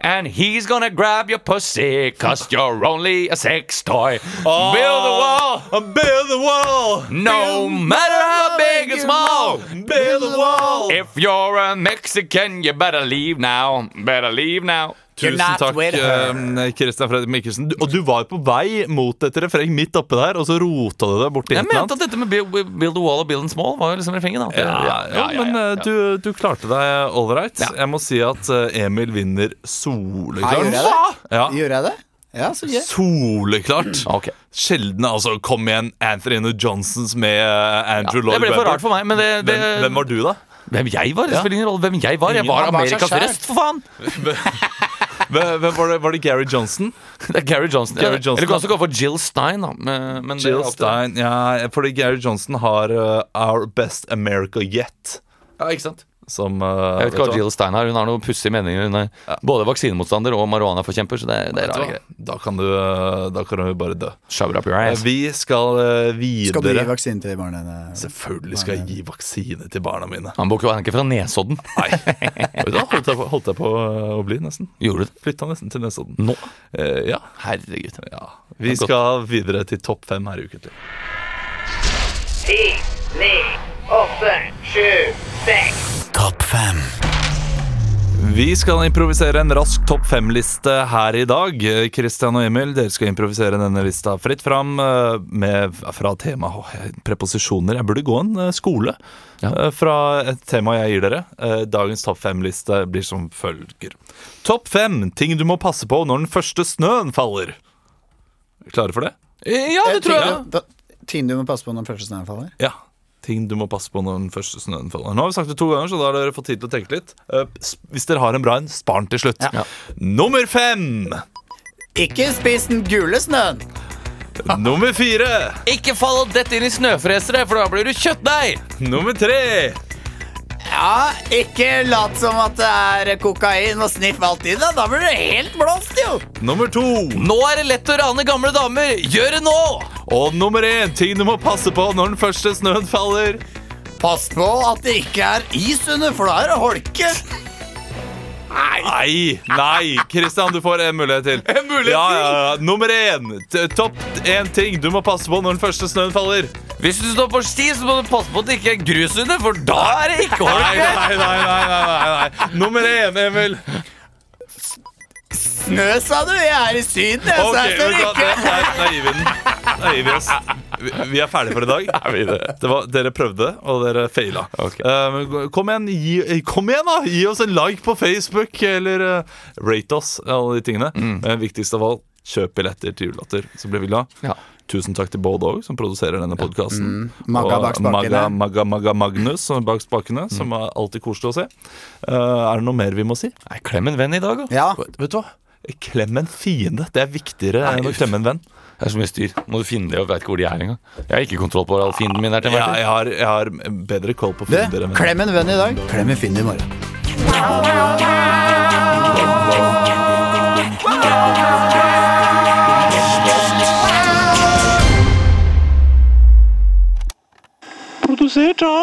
S10: And he's gonna grab your pussy, cause you're only a sex toy. build the wall, Oh, build the wall. No matter how big or small, build the wall. If you're a Mexican, you better leave now. Better leave now.
S1: Tusen takk, eh, Christian Fredrik Mikkelsen. Du- Og du var jo på vei mot et refreng midt oppe der, og så rota du deg borti et
S2: Jeg
S1: eller annet.
S2: mente at dette med Build, build the Wall og Build and Small var jo liksom refrenget, da.
S1: Ja, ja, men eh, du, du klarte deg ålreit. Jeg må si at eh, Emil vinner
S17: Nei,
S1: soleklart.
S17: gjorde jeg det?
S1: Ja.
S17: Gjorde jeg det? Ja, så gøy.
S1: Soleklart. Sjelden. Altså, kom igjen, Anthony and the Johnsons med eh, Andrew
S2: Det
S1: Lloyd
S2: ble for
S1: Webber.
S2: rart for meg, men det, det
S1: Hvem, hvem var du, da?
S2: Hvem jeg var? Det
S1: Ja.
S2: spiller ingen rolle hvem jeg var. Jeg var
S1: Han var seg
S2: Amerikas
S1: selv.
S2: røst, for faen!
S1: Hvem, hvem var, det, var det Gary Johnson?
S2: Det er Gary Johnson.
S1: Gary
S2: ja.
S1: Johnson.
S2: Eller du kan også gå for Jill Stein, da. Men, men det er
S1: Jill
S2: opp til deg.
S1: Stein. Ja, fordi Gary Johnson har eh, Our Best America Yet.
S2: Ja, ikke sant?
S1: Som eh,
S2: Jeg vet ikke
S1: vet
S2: hva
S1: du
S2: Jill Stein har. Hun har noen pussige meninger. Hun er både vaksinemotstander og marihuanaforkjemper, så det,
S1: Vet
S2: det er
S1: du
S2: rare
S1: hva?
S2: greier.
S1: Da kan du eh, Da kan du bare dø.
S2: Shove it up your
S1: Eh,
S2: ass.
S1: Vi skal eh, videre.
S17: Skal du gi vaksine til barna dine?
S1: Selvfølgelig skal jeg gi vaksine til barna mine.
S2: Han bor ikke han er ikke fra Nesodden.
S1: Nei. Vet du hva? holdt jeg på, holdt jeg på eh, å bli, nesten.
S2: Gjorde du det?
S1: Flytta nesten til Nesodden.
S2: Nå?
S1: Eh, ja. Vi
S2: Herregud. Det er godt.
S1: skal videre til topp fem her i uken.
S4: Ti, ni, åtte, sju, seks.
S1: Topp fem. Vi skal improvisere en rask topp fem-liste her i dag. Kristian og Emil, dere skal improvisere denne lista fritt fram eh, med, fra tema åh, jeg- preposisjoner. Jeg burde gå en eh, skole eh, fra et tema jeg gir dere. Eh, Dagens topp fem-liste blir som følger. Topp fem ting du må passe på når den første snøen faller. Klare for det?
S2: Ja, det tror jeg.
S17: Da- Ting du må passe på når den første snøen faller?
S1: Ja. Ting du må passe på når den første snøen faller. Nå har vi sagt det to ganger, så da har dere fått tid til å tenke litt. Eh, s- Hvis dere har en bra en, spar den til slutt. Nummer fem!
S17: Ikke spis den gule snøen!
S1: Nummer fire!
S2: Ikke fall og dett inn i snøfresere, for da blir du kjøttdeig!
S1: Nummer tre!
S17: Ja, ikke lat som at det er kokain og sniff alt i deg. Da blir du helt blåst, jo!
S1: Nummer to!
S2: Nå er det lett å rane gamle damer! Gjør det nå!
S1: Og nummer én! Ting du må passe på når den første snøen faller.
S17: Pass på at det ikke er is under, for da er det holke.
S1: Nei! Nei! Kristian, du får en mulighet til. En mulighet ja, ja, ja. Nummer én! T- Topp én ting du må passe på når den første snøen faller.
S2: Hvis du står på sti, så må du passe på at det ikke er grus under, for da er det ikke
S1: Nei, nei, nei, nei, nei, nei. Nummer én, Emil.
S3: Snø, sa du? Jeg er i Syden, jeg, så jeg
S1: Ok,
S3: står
S1: vet du hva,
S3: ikke
S1: det- nei, Da gir vi den. Da gir vi oss. Vi- Vi er ferdige for i dag. Det var, dere prøvde, og dere faila. Eh, kom, igjen, gi, eh, kom igjen, da! Gi oss en like på Facebook, eller eh, rate oss, alle de tingene.
S3: Mm.
S1: Men viktigst av alt, kjøp billetter til Julelatter, så blir vi glad. Tusen takk til Bård òg, som produserer denne podkasten.
S3: Mm. Magga bak spakene. Mm.
S1: Magga, Magga, Magga Magnus som bak spakene, som er alltid koselig å se. Eh, er det noe mer vi må si?
S2: Klem en venn i dag, da.
S1: Vet, vet du hva? Klem en fiende. Det er viktigere enn å klemme en venn.
S2: Det er så mye styr. Må du finne det, og vet ikke hvor de er engang. Jeg har ikke kontroll på hvor all fienden min er til
S1: Ja,
S2: enhver tid.
S1: jeg, har, jeg har bedre koll på
S3: Det,
S1: fiender enn
S3: klem en venn i dag. Klem en finn i morgen.
S12: Produsert av